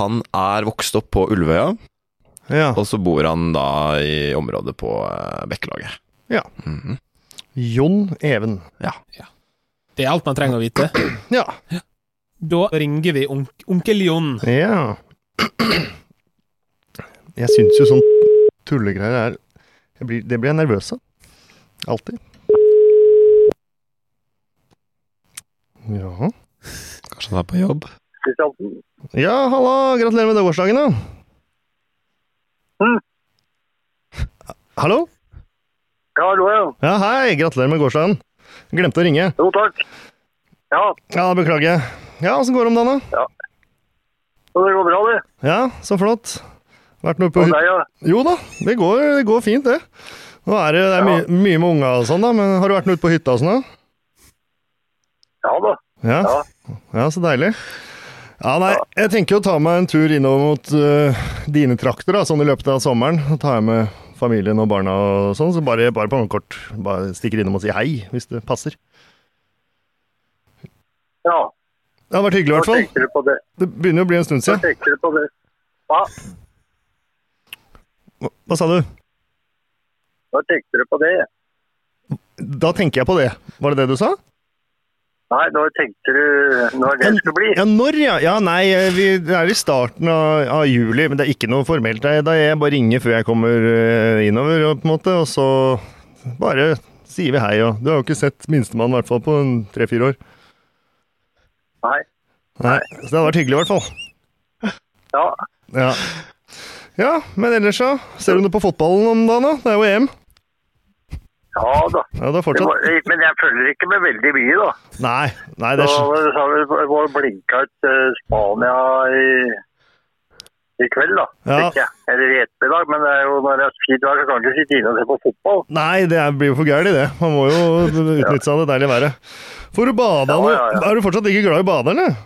[SPEAKER 3] Han er vokst opp på Ulvøya,
[SPEAKER 2] Ja.
[SPEAKER 3] og så bor han da i området på eh, Bekkelaget.
[SPEAKER 2] Ja.
[SPEAKER 3] Mhm.
[SPEAKER 2] Jon Even.
[SPEAKER 1] Det er alt man trenger å vite.
[SPEAKER 2] Ja.
[SPEAKER 1] Da ringer vi onk onkel Jon.
[SPEAKER 2] Ja. Jeg syns jo sånn tullegreier er jeg blir, Det blir jeg nervøs av. Alltid. Ja.
[SPEAKER 3] Kanskje han er på jobb?
[SPEAKER 2] ja, halla! Gratulerer med dagårsdagen, da. Hallo?
[SPEAKER 6] Ja, hallo, ja.
[SPEAKER 2] Ja, hei! Gratulerer med gårsdagen. Glemte å ringe.
[SPEAKER 6] Jo, takk. Ja,
[SPEAKER 2] Ja, beklager. Ja, åssen går det om dagen, da?
[SPEAKER 6] så det går bra, det.
[SPEAKER 2] Ja, så flott. Vært noe på
[SPEAKER 6] Og
[SPEAKER 2] hytta?
[SPEAKER 6] deg, ja.
[SPEAKER 2] Jo da, det går, det går fint, det. Nå er det, det er mye- mye med unga og sånn, da, men har du vært noe ute på hytta og sånn, da?
[SPEAKER 6] Ja da.
[SPEAKER 2] Ja.
[SPEAKER 6] Ja.
[SPEAKER 2] ja, så deilig. Ja, nei, jeg tenker å ta meg en tur innover mot øh, dine trakter, da, sånn i løpet av sommeren. Så tar jeg med familien og barna og sånn, så bare, bare på noen kort bare stikker innom og sier hei, hvis det passer.
[SPEAKER 6] Ja,
[SPEAKER 2] Det har vært hyggelig, i
[SPEAKER 6] hva
[SPEAKER 2] hvert fall.
[SPEAKER 6] tenker du på det?
[SPEAKER 2] Det begynner jo å bli en stund
[SPEAKER 6] Hva
[SPEAKER 2] siden.
[SPEAKER 6] tenker du på det? Hva?
[SPEAKER 2] Hva- Hva sa du?
[SPEAKER 6] Hva tenker du på det?
[SPEAKER 2] Da tenker jeg på det. Var det det du sa?
[SPEAKER 6] Nei, når tenker du når det skal bli?
[SPEAKER 2] Ja, når, ja. ja nei, eh, vi det er i starten av, av juli, men det er ikke noe formelt. Det er- Da jeg bare ringer før jeg kommer eh, innover, og på en måte, og så bare sier vi hei. Og du har jo ikke sett minstemann i hvert fall på en tre-fire år.
[SPEAKER 6] Nei.
[SPEAKER 2] Nei, Så det hadde vært hyggelig i hvert fall.
[SPEAKER 6] Ja,
[SPEAKER 2] Ja. ja, men ellers så ser du noe på fotballen om dagen, da? Det er jo EM.
[SPEAKER 6] ja da.
[SPEAKER 2] Ja, det er
[SPEAKER 6] Det
[SPEAKER 2] fortsatt.
[SPEAKER 6] var, men jeg følger ikke med veldig mye, da.
[SPEAKER 2] Nei, nei, det
[SPEAKER 6] Så
[SPEAKER 2] er sl-
[SPEAKER 6] så har vi det var blinka ut eh, Spania i, i kveld, da.
[SPEAKER 2] Ja.
[SPEAKER 6] Ikke, eller i ettermiddag, men det er jo når det er fint vær, så kan du ikke sitte inne og se på fotball.
[SPEAKER 2] Nei, det er- blir jo for gærent, det. Man må jo utnytte seg av det deilige været. Får du bada
[SPEAKER 6] Ja,
[SPEAKER 2] nå?
[SPEAKER 6] ja, ja.
[SPEAKER 2] Er du fortsatt ikke glad i å bade, eller?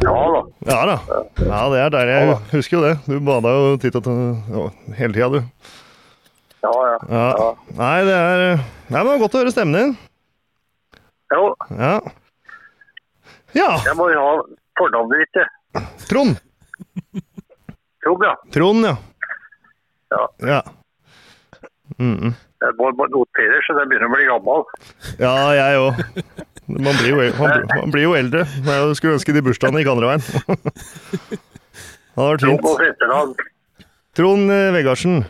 [SPEAKER 6] Ja da.
[SPEAKER 2] Ja da. Ja, det er deilig. Jeg husker jo det. Du bada jo titt og ta- ja, hele tida, du.
[SPEAKER 6] Ja, ja.
[SPEAKER 2] Ja. Nei, det er Nei, men det var godt å høre stemmen din.
[SPEAKER 6] Jo,
[SPEAKER 2] Ja. Ja,
[SPEAKER 6] jeg må ha fornavnet ditt, jeg.
[SPEAKER 2] Trond.
[SPEAKER 6] Trond, ja.
[SPEAKER 2] Trond, ja.
[SPEAKER 6] Ja.
[SPEAKER 2] Ja, Mm -mm.
[SPEAKER 6] Jeg må bare notere, så jeg begynner å bli gammel.
[SPEAKER 2] ja jeg òg. Man, blir jo el- man, blir- man blir jo eldre. Men Jeg skulle ønske de bursdagene gikk andre veien. Det hadde vært
[SPEAKER 6] Trond
[SPEAKER 2] fint.
[SPEAKER 6] og Fetteland.
[SPEAKER 2] Trond eh, Vegardsen.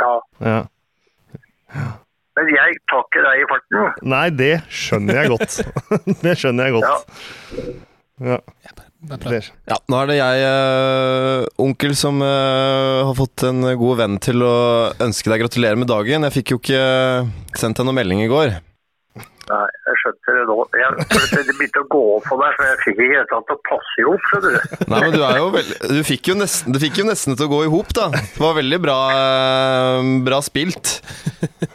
[SPEAKER 6] Ja.
[SPEAKER 2] Ja.
[SPEAKER 6] Men jeg tar ikke deg i farten.
[SPEAKER 2] Nei, det skjønner jeg godt. Det skjønner jeg godt. Ja.
[SPEAKER 1] Bare prat.
[SPEAKER 2] Det,
[SPEAKER 3] Ja, nå er det jeg, eh, onkel, som eh, har fått en god venn til å ønske deg gratulerer med dagen. Jeg fikk jo ikke eh, sendt deg noen melding i går.
[SPEAKER 6] Nei, jeg skjønte det nå. Jeg skjønte det begynte å gå opp for meg, så jeg fikk ikke helt tatt til å passe i hop, skjønner du.
[SPEAKER 3] Nei, men du er jo veldig Du fikk jo nesten, du fikk jo nesten til å gå i hop, da. Det var veldig bra, eh, bra spilt.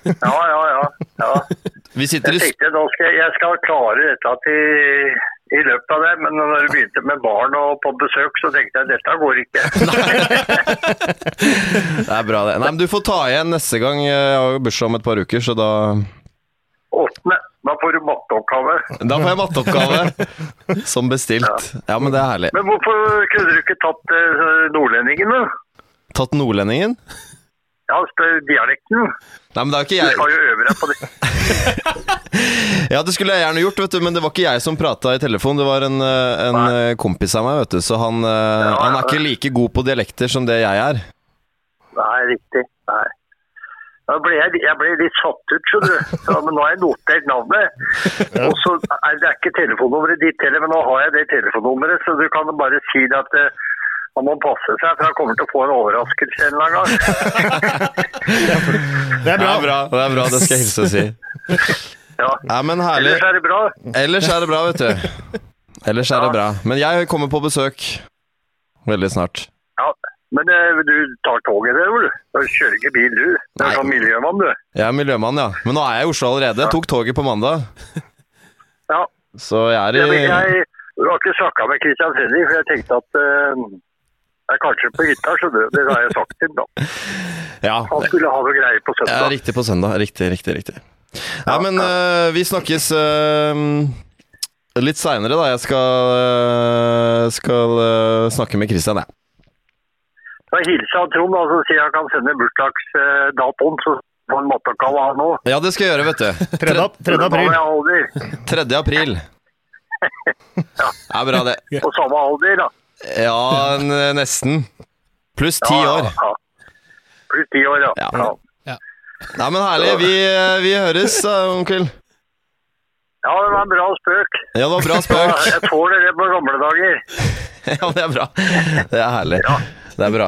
[SPEAKER 6] Ja, ja, ja. ja.
[SPEAKER 3] Vi sitter i
[SPEAKER 6] Jeg
[SPEAKER 3] s-
[SPEAKER 6] tenkte nå skal jeg, jeg skal klare dette til i løpet av det, men når du begynte med barn og på besøk, så tenkte jeg dette går ikke.
[SPEAKER 3] Det er bra, det. Nei, men du får ta igjen neste gang. Jeg har jo bursdag om et par uker, så da
[SPEAKER 6] Åttende, da får du matteoppgave.
[SPEAKER 3] Da får jeg matteoppgave som bestilt. Ja, men det er herlig.
[SPEAKER 6] Men hvorfor kunne du ikke tatt eh, nordlendingene?
[SPEAKER 3] Tatt nordlendingen?
[SPEAKER 6] Ja, spør dialekten.
[SPEAKER 3] Nei, men det er jo ikke
[SPEAKER 6] Du
[SPEAKER 3] jeg
[SPEAKER 6] skal jo øve deg på det.
[SPEAKER 3] Ja, det skulle jeg gjerne gjort, vet du, men det var ikke jeg som prata i telefon. Det var en, eh, en eh, kompis av meg, vet du, så han, eh, han er ikke like god på dialekter som det jeg er.
[SPEAKER 6] Nei, riktig. Nei. Da ble jeg, jeg ble litt satt ut, skjønner du. Ja, men nå har jeg notert navnet. Og så er det ikke telefonnummeret ditt heller, men nå har jeg det telefonnummeret, så du kan bare si det at eh, han må passe seg, for han kommer til å få en overraskelse en eller annen gang.
[SPEAKER 2] Det er bra.
[SPEAKER 3] Det er bra, det skal jeg hilse og si.
[SPEAKER 6] Ja.
[SPEAKER 3] Nei, men herlig.
[SPEAKER 6] Ellers er det bra.
[SPEAKER 3] Ellers er det bra, vet du. Ellers er det bra. Men jeg kommer på besøk veldig snart.
[SPEAKER 6] Ja. Men eh, du tar toget der, du. Du kjører ikke bil, du. Du
[SPEAKER 3] Nei.
[SPEAKER 6] er sånn miljømann, du.
[SPEAKER 3] Jeg er miljømann, ja. Men nå er jeg i Oslo allerede. Jeg tok toget på mandag.
[SPEAKER 6] Ja.
[SPEAKER 3] Så jeg
[SPEAKER 6] Ja,
[SPEAKER 3] er
[SPEAKER 6] men
[SPEAKER 3] i
[SPEAKER 6] jeg jeg har ikke snakka med Christian Fredrik, for jeg tenkte at eh, jeg er kanskje på hytta, skjønner du. Det har jeg sagt til ham, da.
[SPEAKER 3] Ja,
[SPEAKER 6] Han skulle ha noe greier på
[SPEAKER 3] jeg er
[SPEAKER 6] søndag.
[SPEAKER 3] riktig på søndag. Riktig, riktig, riktig. Nei, men øh, vi snakkes øh, litt seinere, da. Jeg skal, øh, skal øh, snakke med Christian, jeg.
[SPEAKER 6] Da hilser han Trond og så sier han kan sende bursdagsdatoen, så får han matoppgave han òg.
[SPEAKER 3] Ja, det skal jeg gjøre, vet du.
[SPEAKER 2] 3. ap- 3. april.
[SPEAKER 6] Samme alder.
[SPEAKER 3] 3. april. Det er bra, det.
[SPEAKER 6] På samme alder, da.
[SPEAKER 3] Ja, n- nesten. Pluss ti
[SPEAKER 6] Ja,
[SPEAKER 3] år.
[SPEAKER 6] ja. Pluss ti år, ja.
[SPEAKER 3] Ja.
[SPEAKER 6] ja.
[SPEAKER 3] Nei, men herlig. Vi, eh, vi høres, da, onkel.
[SPEAKER 6] Ja, det var en bra spøk.
[SPEAKER 3] Ja, det var bra
[SPEAKER 6] Ja,
[SPEAKER 3] spøk.
[SPEAKER 6] Jeg tåler det på gamle dager.
[SPEAKER 3] Ja, det er bra. Det er herlig. Det er bra.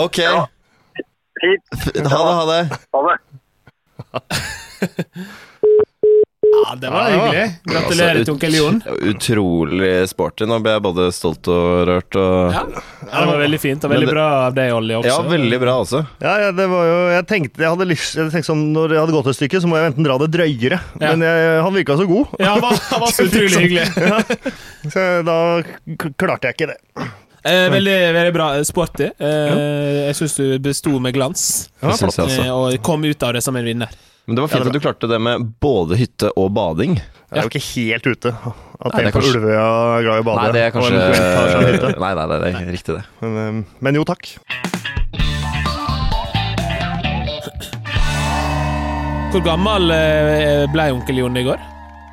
[SPEAKER 3] Ok. Ha
[SPEAKER 6] Fint.
[SPEAKER 3] det, ha det.
[SPEAKER 6] Ha det.
[SPEAKER 1] Ja, det var
[SPEAKER 2] Ja,
[SPEAKER 1] hyggelig. Gratulerer til onkel Jon.
[SPEAKER 3] Altså, ut- Utrolig sporty. Nå ble jeg både stolt og rørt og
[SPEAKER 1] Ja. Ja, det var veldig fint, og
[SPEAKER 3] Men
[SPEAKER 1] veldig
[SPEAKER 3] det-
[SPEAKER 1] bra av deg, Olli, også.
[SPEAKER 3] Ja, veldig bra altså. også.
[SPEAKER 2] Ja, ja, det var jo, jeg tenkte, jeg hadde lyst, jeg tenkte sånn, når jeg hadde gått et stykke, så må jeg enten dra det drøyere.
[SPEAKER 1] Ja.
[SPEAKER 2] Men jeg, han virka så god,
[SPEAKER 1] Ja, han var, han var så utrolig hyggelig.
[SPEAKER 2] så da k- klarte jeg ikke det.
[SPEAKER 1] Eh, veldig, veldig bra. eh, Sporty. Eh, jeg syns du besto med glans,
[SPEAKER 2] Ja,
[SPEAKER 3] Det synes jeg
[SPEAKER 1] eh,
[SPEAKER 3] også.
[SPEAKER 1] og kom ut av det som en vinner.
[SPEAKER 3] Men det var fint at du klarte det med både hytte og bading.
[SPEAKER 2] Jeg er jo ikke helt ute. At
[SPEAKER 3] Nei, det
[SPEAKER 2] en
[SPEAKER 3] er
[SPEAKER 2] på
[SPEAKER 3] kanskje-
[SPEAKER 2] Ulvøya er glad i å bade.
[SPEAKER 3] Nei, det er
[SPEAKER 2] og
[SPEAKER 3] kanskje
[SPEAKER 2] en tar seg en hytte.
[SPEAKER 3] Nei, nei, nei, det er riktig, det.
[SPEAKER 2] Men, ehm, men jo, takk.
[SPEAKER 1] Hvor gammel eh, ble onkel Jon i går?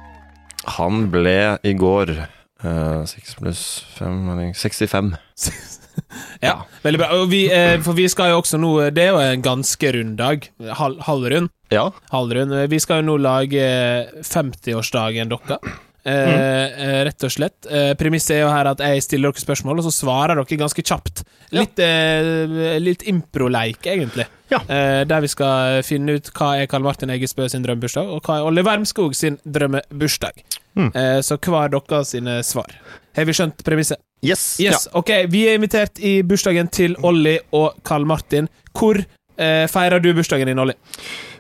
[SPEAKER 3] Han ble i går eh, 6 pluss 5 65.
[SPEAKER 1] Ja, veldig bra. Og vi, eh, for vi skal jo også nå eh, Det er jo en ganske rund dag. Hal, halvrund.
[SPEAKER 3] Ja.
[SPEAKER 1] halvrund. Eh, Vi skal jo nå lage eh, 50-årsdagen deres. Eh, eh, rett og slett. Eh, Premisset er jo her at jeg stiller dere spørsmål, og så svarer dere ganske kjapt. Litt, eh, litt improleik, egentlig.
[SPEAKER 2] Ja.
[SPEAKER 1] Eh, der vi skal finne ut hva er Karl Martin Eggesbø sin drømmebursdag, og hva er Olle Wermskog sin drømmebursdag. Eh, så hver deres sine svar. Har vi skjønt premisset?
[SPEAKER 2] Yes.
[SPEAKER 1] Yes, ok, Vi er invitert i bursdagen til Olli og Karl Martin. Hvor eh, feirer du bursdagen din, Olli?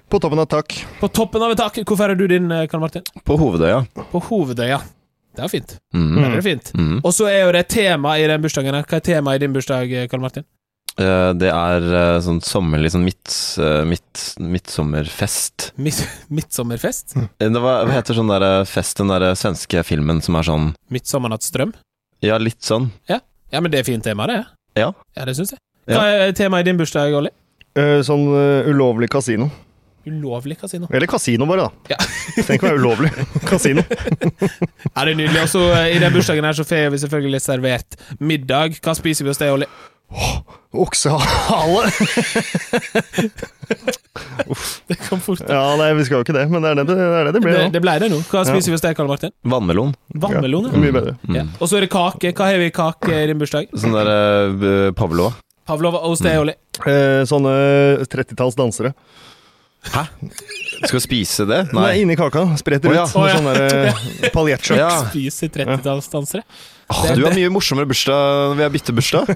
[SPEAKER 2] På toppen av takk.
[SPEAKER 1] På toppen av et tak. Hvor feirer du din, eh, Karl Martin?
[SPEAKER 3] På Hovedøya.
[SPEAKER 1] På Hovedøya. Det er jo fint.
[SPEAKER 3] Mm.
[SPEAKER 1] Der er det fint.
[SPEAKER 3] Mm.
[SPEAKER 1] Og så er jo det tema i den bursdagen. her. Hva er temaet i din bursdag, eh, Karl Martin?
[SPEAKER 3] Eh, det er eh, sånn sommerlig sånn midt, eh, midt, midtsommerfest.
[SPEAKER 1] Midt, midtsommerfest?
[SPEAKER 3] Eh, Det var, hva heter sånn der eh, fest, den der eh, svenske filmen som er sånn
[SPEAKER 1] Midtsommernattsdrøm?
[SPEAKER 3] Ja, litt sånn.
[SPEAKER 1] Ja, men det er fint tema, det.
[SPEAKER 3] Ja.
[SPEAKER 1] Ja, det syns jeg.
[SPEAKER 3] Ja.
[SPEAKER 1] Hva er temaet i din bursdag, Olli?
[SPEAKER 2] Eh, sånn eh, ulovlig kasino.
[SPEAKER 1] Ulovlig kasino.
[SPEAKER 2] Eller kasino, bare, da.
[SPEAKER 1] Ja.
[SPEAKER 2] Tenk å være ulovlig kasino.
[SPEAKER 1] Ja, det er nydelig. Og så eh, i den bursdagen her så får vi selvfølgelig servert middag. Hva spiser vi hos deg, Olli?
[SPEAKER 2] Oksehale!
[SPEAKER 1] Det kom fort.
[SPEAKER 2] Ja, nei, vi skal jo ikke det, men det er det det, det, er det, det blir.
[SPEAKER 1] Det,
[SPEAKER 2] ja.
[SPEAKER 1] det ble det nå. Hva spiser vi hos deg, Karl Martin?
[SPEAKER 3] Vannmelon.
[SPEAKER 1] Vannmelon,
[SPEAKER 2] Ja,
[SPEAKER 1] ja.
[SPEAKER 2] mye bedre.
[SPEAKER 1] ja. Og så er det kake. Hva har vi i kake i din bursdag?
[SPEAKER 3] Sånn der eh, b- Pavlova.
[SPEAKER 1] Pavlova hos deg, Olli.
[SPEAKER 2] Eh, sånne 30-talls dansere.
[SPEAKER 3] Skal vi spise det?
[SPEAKER 2] Nei. inni kaka. Spretter
[SPEAKER 3] Å, ja.
[SPEAKER 2] ut. med
[SPEAKER 1] Å, ja.
[SPEAKER 2] Sånne der, eh, paljettskjørt.
[SPEAKER 3] Ja.
[SPEAKER 1] Spiser 30-tallsdansere.
[SPEAKER 3] Åh, du har mye morsommere bursdag. Vi har bytte bursdag.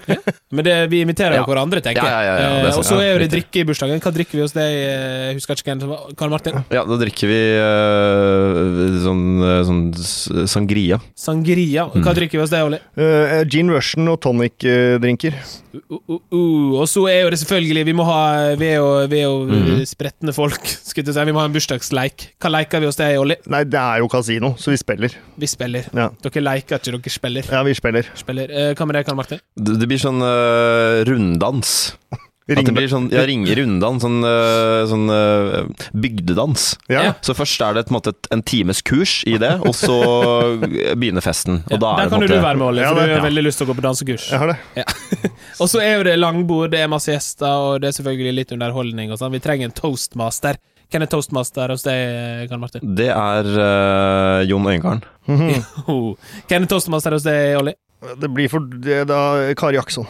[SPEAKER 1] Men det, vi imiterer jo
[SPEAKER 3] Ja.
[SPEAKER 1] hverandre, tenker jeg.
[SPEAKER 3] Ja, ja, ja, ja, det er
[SPEAKER 1] Eh,
[SPEAKER 3] sant.
[SPEAKER 1] og så
[SPEAKER 3] Ja,
[SPEAKER 1] er jo det
[SPEAKER 3] riktig.
[SPEAKER 1] drikke i bursdagen. Hva drikker vi hos deg, eh, husker jeg ikke hvem som var Karl Martin?
[SPEAKER 3] Ja, da drikker vi eh, sånn, eh, sånn s- sangria.
[SPEAKER 1] Sangria. Hva drikker vi hos deg, Olli?
[SPEAKER 2] Eh, gin Russian og tonic-drinker.
[SPEAKER 1] Uh, uh, uh. Og så er jo det selvfølgelig Vi må ha Vi er jo, vi er jo eh, spretne folk, skulle jeg til å si. Vi må ha en bursdagsleik. Hva leker vi hos deg, Olli?
[SPEAKER 2] Nei, det er jo kasino, så vi spiller.
[SPEAKER 1] Vi spiller.
[SPEAKER 2] Ja,
[SPEAKER 1] Dere leker ikke, dere spiller.
[SPEAKER 2] ja vi spiller.
[SPEAKER 1] spiller. Eh, hva med deg, Karl Martin?
[SPEAKER 3] Det, det blir sånn eh, runddans. At det
[SPEAKER 2] Ring-
[SPEAKER 3] blir sånn, ja, ringe rundan, sånn, øh, sånn øh, bygdedans.
[SPEAKER 2] Ja.
[SPEAKER 3] Så først er det på en måte et- en times kurs i det, og så begynner festen. Og da er
[SPEAKER 1] Der
[SPEAKER 3] det på
[SPEAKER 1] kan
[SPEAKER 3] en
[SPEAKER 1] jo du
[SPEAKER 3] måte
[SPEAKER 1] være med, Olle,
[SPEAKER 2] Ja,
[SPEAKER 1] for
[SPEAKER 2] det-
[SPEAKER 1] du har
[SPEAKER 2] ja.
[SPEAKER 1] veldig lyst til å gå på dansekurs.
[SPEAKER 2] Jeg har det.
[SPEAKER 1] Og så er jo det langbord, det er masse gjester, og det er selvfølgelig litt underholdning og sånn. Vi trenger en toastmaster. Hvem er toastmaster hos deg, Karl Martin?
[SPEAKER 3] Det er øh, Jon Øygarden.
[SPEAKER 1] Oh. Hvem er toastmaster hos deg, Olli?
[SPEAKER 2] Mhm. Det blir for det, da, Kari Jaksson.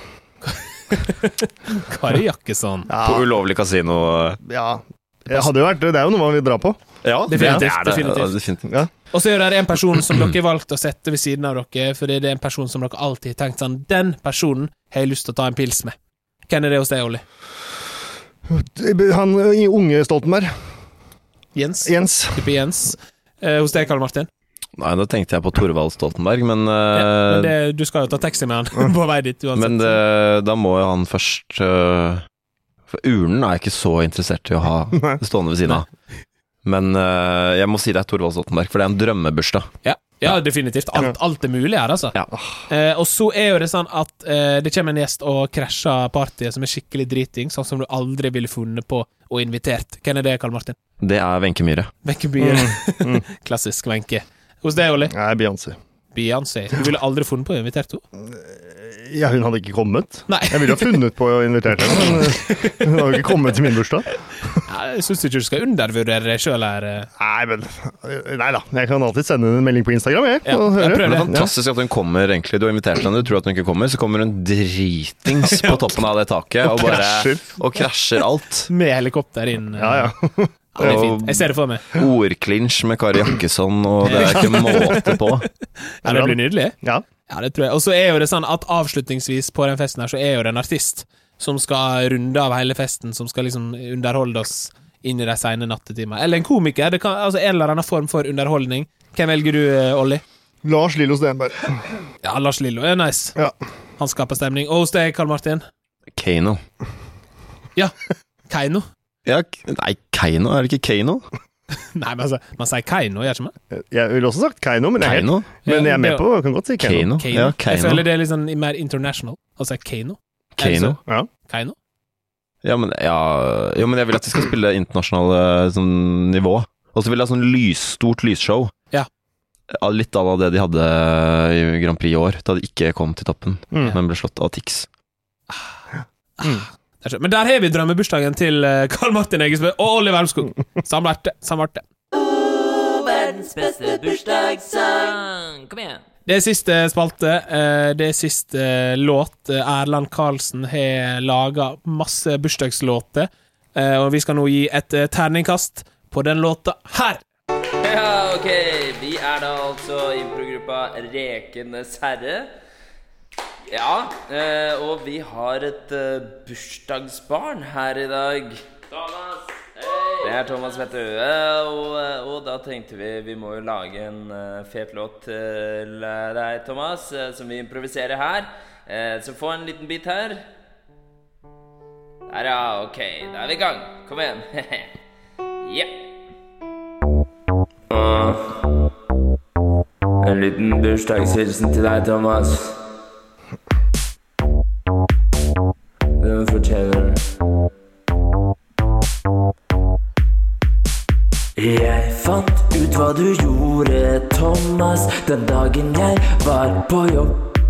[SPEAKER 1] Kari Jakkesson.
[SPEAKER 3] På ulovlig kasino.
[SPEAKER 2] ja. Det hadde jo vært, det er jo noe man vil dra på.
[SPEAKER 3] Ja,
[SPEAKER 1] Definitivt,
[SPEAKER 3] det er det.
[SPEAKER 1] definitivt.
[SPEAKER 3] Ja, definitivt.
[SPEAKER 2] Ja.
[SPEAKER 1] Og så er det en person som dere valgte å sette ved siden av dere, fordi det er en person som dere alltid har tenkt sånn Den personen har jeg lyst til å ta en pils med. Hvem er det hos deg, Olli?
[SPEAKER 2] Han eh, i unge Stoltenberg,
[SPEAKER 1] Jens?
[SPEAKER 2] Jens.
[SPEAKER 1] Type Jens. Eh, hos deg, Karl Martin?
[SPEAKER 3] Nei, da tenkte jeg på Torvald Stoltenberg, men,
[SPEAKER 1] Ja,
[SPEAKER 3] øh,
[SPEAKER 1] men det, du skal jo ta taxi med han på vei dit uansett.
[SPEAKER 3] Men det, da må jo han først øh, For urnen er jeg ikke så interessert i å ha
[SPEAKER 2] Nei.
[SPEAKER 3] stående ved siden av. Men øh, jeg må si det er Torvald Stoltenberg, for det er en drømmebursdag.
[SPEAKER 1] Ja, ja definitivt. Alt, alt er mulig her, altså.
[SPEAKER 3] Ja.
[SPEAKER 1] Eh, og så er jo det sånn at eh, det kommer en gjest og krasjer partyet som er skikkelig driting, sånn som du aldri ville funnet på og invitert. Hvem er det, Karl Martin?
[SPEAKER 3] Det er Wenche Myhre.
[SPEAKER 1] Wenche Byer. Klassisk Wenche. Hos deg, Olli?
[SPEAKER 2] Nei, Beyoncé.
[SPEAKER 1] Beyoncé. Du ville aldri funnet på å invitere henne?
[SPEAKER 2] Ja, hun hadde ikke kommet.
[SPEAKER 1] Nei.
[SPEAKER 2] Jeg ville ha funnet på å invitere henne, men eh, hun har jo ikke kommet til min bursdag.
[SPEAKER 1] Nei, Jeg syns ikke du skal undervurdere deg sjøl her. eh.
[SPEAKER 2] Nei, men eh, Nei da. Jeg kan alltid sende henne en melding på Instagram, jeg.
[SPEAKER 1] Ja,
[SPEAKER 2] og
[SPEAKER 1] jeg
[SPEAKER 2] høre.
[SPEAKER 1] prøver
[SPEAKER 3] Det er
[SPEAKER 1] det.
[SPEAKER 3] fantastisk at hun kommer, egentlig. Du har invitert henne, du tror at hun ikke kommer, så kommer hun dritings på toppen av det taket og bare
[SPEAKER 2] krasjer.
[SPEAKER 3] Og krasjer alt.
[SPEAKER 1] Med helikopter inn. eh.
[SPEAKER 2] Ja, ja.
[SPEAKER 1] Ja, det er fint. Jeg ser det for meg.
[SPEAKER 3] Ordklinsj med Kari Jakkesson, og det er ikke måte på.
[SPEAKER 1] Ja, det blir nydelig.
[SPEAKER 2] ja.
[SPEAKER 1] Ja, det tror jeg. Og så er jo det sånn at avslutningsvis på den festen her, så er jo det en artist som skal runde av hele festen, som skal liksom underholde oss inn i de seine nattetimer. Eller en komiker. Det kan, altså En eller annen form for underholdning. Hvem velger du, eh, Olli?
[SPEAKER 2] Lars Lillo Stenberg.
[SPEAKER 1] Ja, Lars Lillo er nice.
[SPEAKER 2] Ja.
[SPEAKER 1] Han skaper stemning. Og hos deg, Karl Martin?
[SPEAKER 3] Kano.
[SPEAKER 1] Ja. Keiino?
[SPEAKER 3] Ja, k- nei, Keiino, er det ikke Kano?
[SPEAKER 1] Nei, men altså, man sier Keiino, gjør ikke man?
[SPEAKER 2] Jeg ville også sagt Keiino, men, jeg er helt-
[SPEAKER 3] Keiino?
[SPEAKER 2] men jeg er
[SPEAKER 1] Ja,
[SPEAKER 2] med på jeg kan godt si Keiino.
[SPEAKER 3] Kano.
[SPEAKER 1] Keiino.
[SPEAKER 3] Ja,
[SPEAKER 1] Jeg føler
[SPEAKER 3] Kano.
[SPEAKER 1] det er litt sånn mer international. Altså Keiino.
[SPEAKER 3] Kano.
[SPEAKER 2] Ja.
[SPEAKER 1] Keiino?
[SPEAKER 3] Ja, men, ja, jo, men jeg vil at de skal spille internasjonale sånn, nivå. Og så vil jeg ha sånn lys, stort lysshow.
[SPEAKER 1] Ja.
[SPEAKER 3] Ja, Litt à la det de hadde i Grand Prix i år, da de ikke kom til toppen,
[SPEAKER 2] Mm.
[SPEAKER 3] men ble slått av Tix.
[SPEAKER 1] Det er så- Men der har vi drømmebursdagen til eh, Karl Martin Eggesbø og Olli Wermskog. Samverte. Samverte.
[SPEAKER 7] Verdens beste bursdagssang. Kom igjen.
[SPEAKER 1] Det er siste spalte. eh, Det er siste låt. Eh, Erland Karlsen har laga masse bursdagslåter, eh, og vi skal nå gi et eh, terningkast på den låta her.
[SPEAKER 7] Ja, ok. Vi er da altså improgruppa Rekenes herre. Ja, eh, og vi har et eh, bursdagsbarn her i dag. Thomas! Det er Thomas Vettøe, og, eh, og da tenkte vi vi må jo lage en eh, fet låt til eh, deg, Thomas, eh, som vi improviserer her. Eh, Så få en liten bit her. Der, ja. Ok, da er vi i gang. Kom igjen. Jepp. En liten bursdagshilsen til deg, Thomas. Den fortjener du. Jeg fant ut hva du gjorde, Thomas, den dagen jeg var på jobb.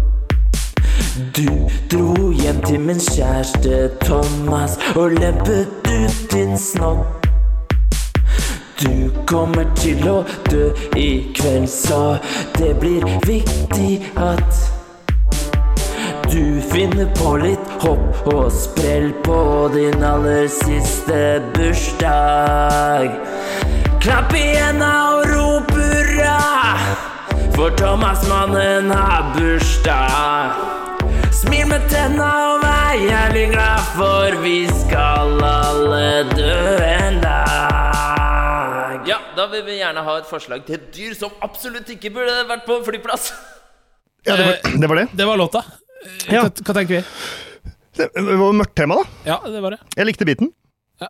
[SPEAKER 7] Du dro hjem til min kjæreste, Thomas, og leppet ut din snopp. Du kommer til å dø i kveld, så det blir viktig at du finner på litt hopp og sprell på din aller siste bursdag. Klapp i henda og rop hurra, for Thomas-mannen har bursdag. Smil med tenna og vær jævlig glad, for vi skal alle dø en dag. Ja, da vil vi gjerne ha et forslag til et dyr som absolutt ikke burde vært på flyplass.
[SPEAKER 2] Ja, det var det. Var det.
[SPEAKER 1] Det var låta. Eh,
[SPEAKER 2] Ja.
[SPEAKER 1] Hva, hva tenker vi?
[SPEAKER 2] det var mørkt tema, da.
[SPEAKER 1] Ja, det var det.
[SPEAKER 2] Jeg likte biten.
[SPEAKER 1] Ja.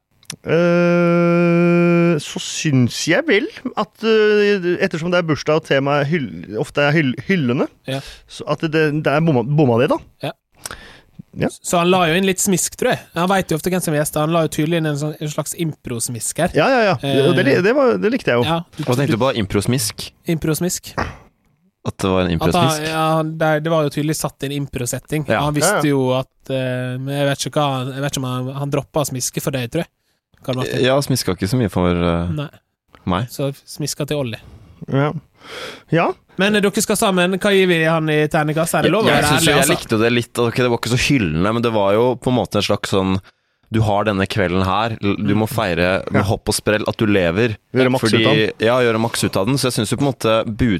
[SPEAKER 2] Eh, så syns jeg vel at eh, ettersom det er bursdag og temaet hyll, ofte er hyll, hyllende,
[SPEAKER 1] Ja.
[SPEAKER 2] så at det, det er bomma, bomma det, da.
[SPEAKER 1] Ja.
[SPEAKER 2] Ja.
[SPEAKER 1] Så han la jo inn litt smisk, tror jeg. Han veit jo ofte hvem som er gjester. Han la jo tydelig inn en, sånn, en slags improsmisk her.
[SPEAKER 2] Ja, ja, ja. Det, det, det, var, det likte jeg jo.
[SPEAKER 1] Eh. Ja,
[SPEAKER 3] Hva tenkte du på? Improsmisk?
[SPEAKER 1] improsmisk.
[SPEAKER 3] At det var
[SPEAKER 1] At
[SPEAKER 3] en
[SPEAKER 1] han,
[SPEAKER 3] improsmisk?
[SPEAKER 1] ja, han- det, det var jo tydelig satt inn impro-setting.
[SPEAKER 3] Ja.
[SPEAKER 1] Han
[SPEAKER 2] Ja,
[SPEAKER 1] visste
[SPEAKER 2] ja.
[SPEAKER 1] jo at eh, Men jeg vet ikke hva han- Jeg vet ikke om han, han droppa å smiske for deg, tror jeg. Karl Martin.
[SPEAKER 3] Ja, smiska ikke så mye for eh,
[SPEAKER 1] Nei.
[SPEAKER 3] meg.
[SPEAKER 1] Så smiska til Olli.
[SPEAKER 2] Ja. ja.
[SPEAKER 1] Men eh, dere skal sammen. Hva gir vi han i terningkast? Er det lov å
[SPEAKER 3] jeg,
[SPEAKER 1] være
[SPEAKER 3] synes
[SPEAKER 1] ærlig,
[SPEAKER 3] jo- jeg
[SPEAKER 1] altså?
[SPEAKER 3] likte det litt. Ok, det var ikke så hyllende, men det var jo på en måte en slags sånn Du har denne kvelden her, l- du må feire med hopp og sprell at du lever.
[SPEAKER 2] Gjøre maks ut av den.
[SPEAKER 3] Ja, gjøre maks ut av den. Så jeg syns jo på en måte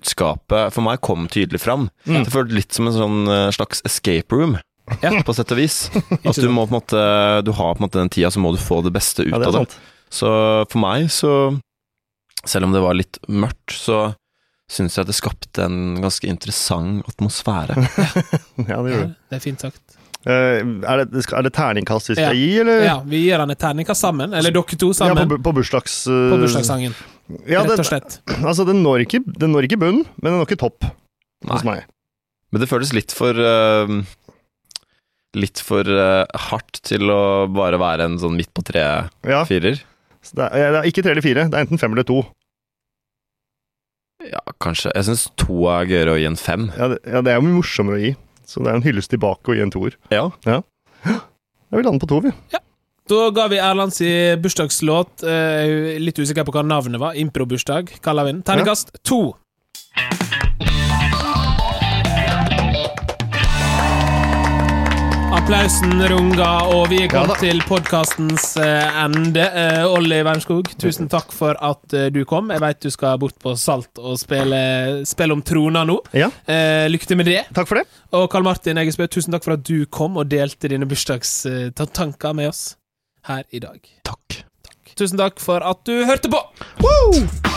[SPEAKER 3] budskapet for meg kom tydelig fram. Det føltes litt som en sånn eh, slags escape room.
[SPEAKER 1] Ja.
[SPEAKER 3] På sett og vis. At du må på en måte Du har på en måte den tida, så må du få det beste ut
[SPEAKER 2] ja, det
[SPEAKER 3] av
[SPEAKER 2] er
[SPEAKER 3] det.
[SPEAKER 2] sant.
[SPEAKER 3] Så for meg, så Selv om det var litt mørkt, så syns jeg det skapte en ganske interessant atmosfære.
[SPEAKER 2] Ja, det
[SPEAKER 1] Ja,
[SPEAKER 2] gjorde du.
[SPEAKER 1] det er fint sagt.
[SPEAKER 2] Eh, er, det, skal- er det terningkast vi skal
[SPEAKER 1] Ja.
[SPEAKER 2] gi, eller?
[SPEAKER 1] Ja, vi gir han et terningkast sammen. Eller dere to sammen.
[SPEAKER 2] Ja, på,
[SPEAKER 1] på,
[SPEAKER 2] bu- på bursdags... eh,
[SPEAKER 1] bursdagssangen,
[SPEAKER 2] Ja,
[SPEAKER 1] rett og
[SPEAKER 2] den,
[SPEAKER 1] slett.
[SPEAKER 2] altså, den når ikke, den når ikke bunn, men den når ikke topp hos meg.
[SPEAKER 3] Nei. Men det føles litt for eh, Litt for eh, hardt til å bare være en sånn midt på tre-firer.
[SPEAKER 2] Ja, så det, er, det er ikke tre eller fire, det er enten fem eller to.
[SPEAKER 3] Ja, kanskje. Jeg syns to er gøyere å gi en fem.
[SPEAKER 2] Ja, det, ja, det er jo mye morsommere å gi, så det er en hyllest tilbake å gi en toer.
[SPEAKER 3] Ja.
[SPEAKER 2] Jeg vil lande på to, vi.
[SPEAKER 1] Da ga vi Erland si bursdagslåt. eh, litt usikker på hva navnet var. Improbursdag, kaller vi den. Terningkast to. Applausen runger, og vi er
[SPEAKER 2] Ja da.
[SPEAKER 1] kommet til podkastens ende. Eh, Olli Wernskog, tusen takk for at eh, du kom. Jeg veit du skal bort på Salt og spille, spille om trona nå.
[SPEAKER 2] Ja,
[SPEAKER 1] Eh, lykke til med det.
[SPEAKER 2] takk for det.
[SPEAKER 1] Og Karl Martin Eggesbø, tusen takk for at du kom og delte dine bursdagstanker med oss her i dag.
[SPEAKER 3] Takk.
[SPEAKER 1] Tusen takk for at du hørte på!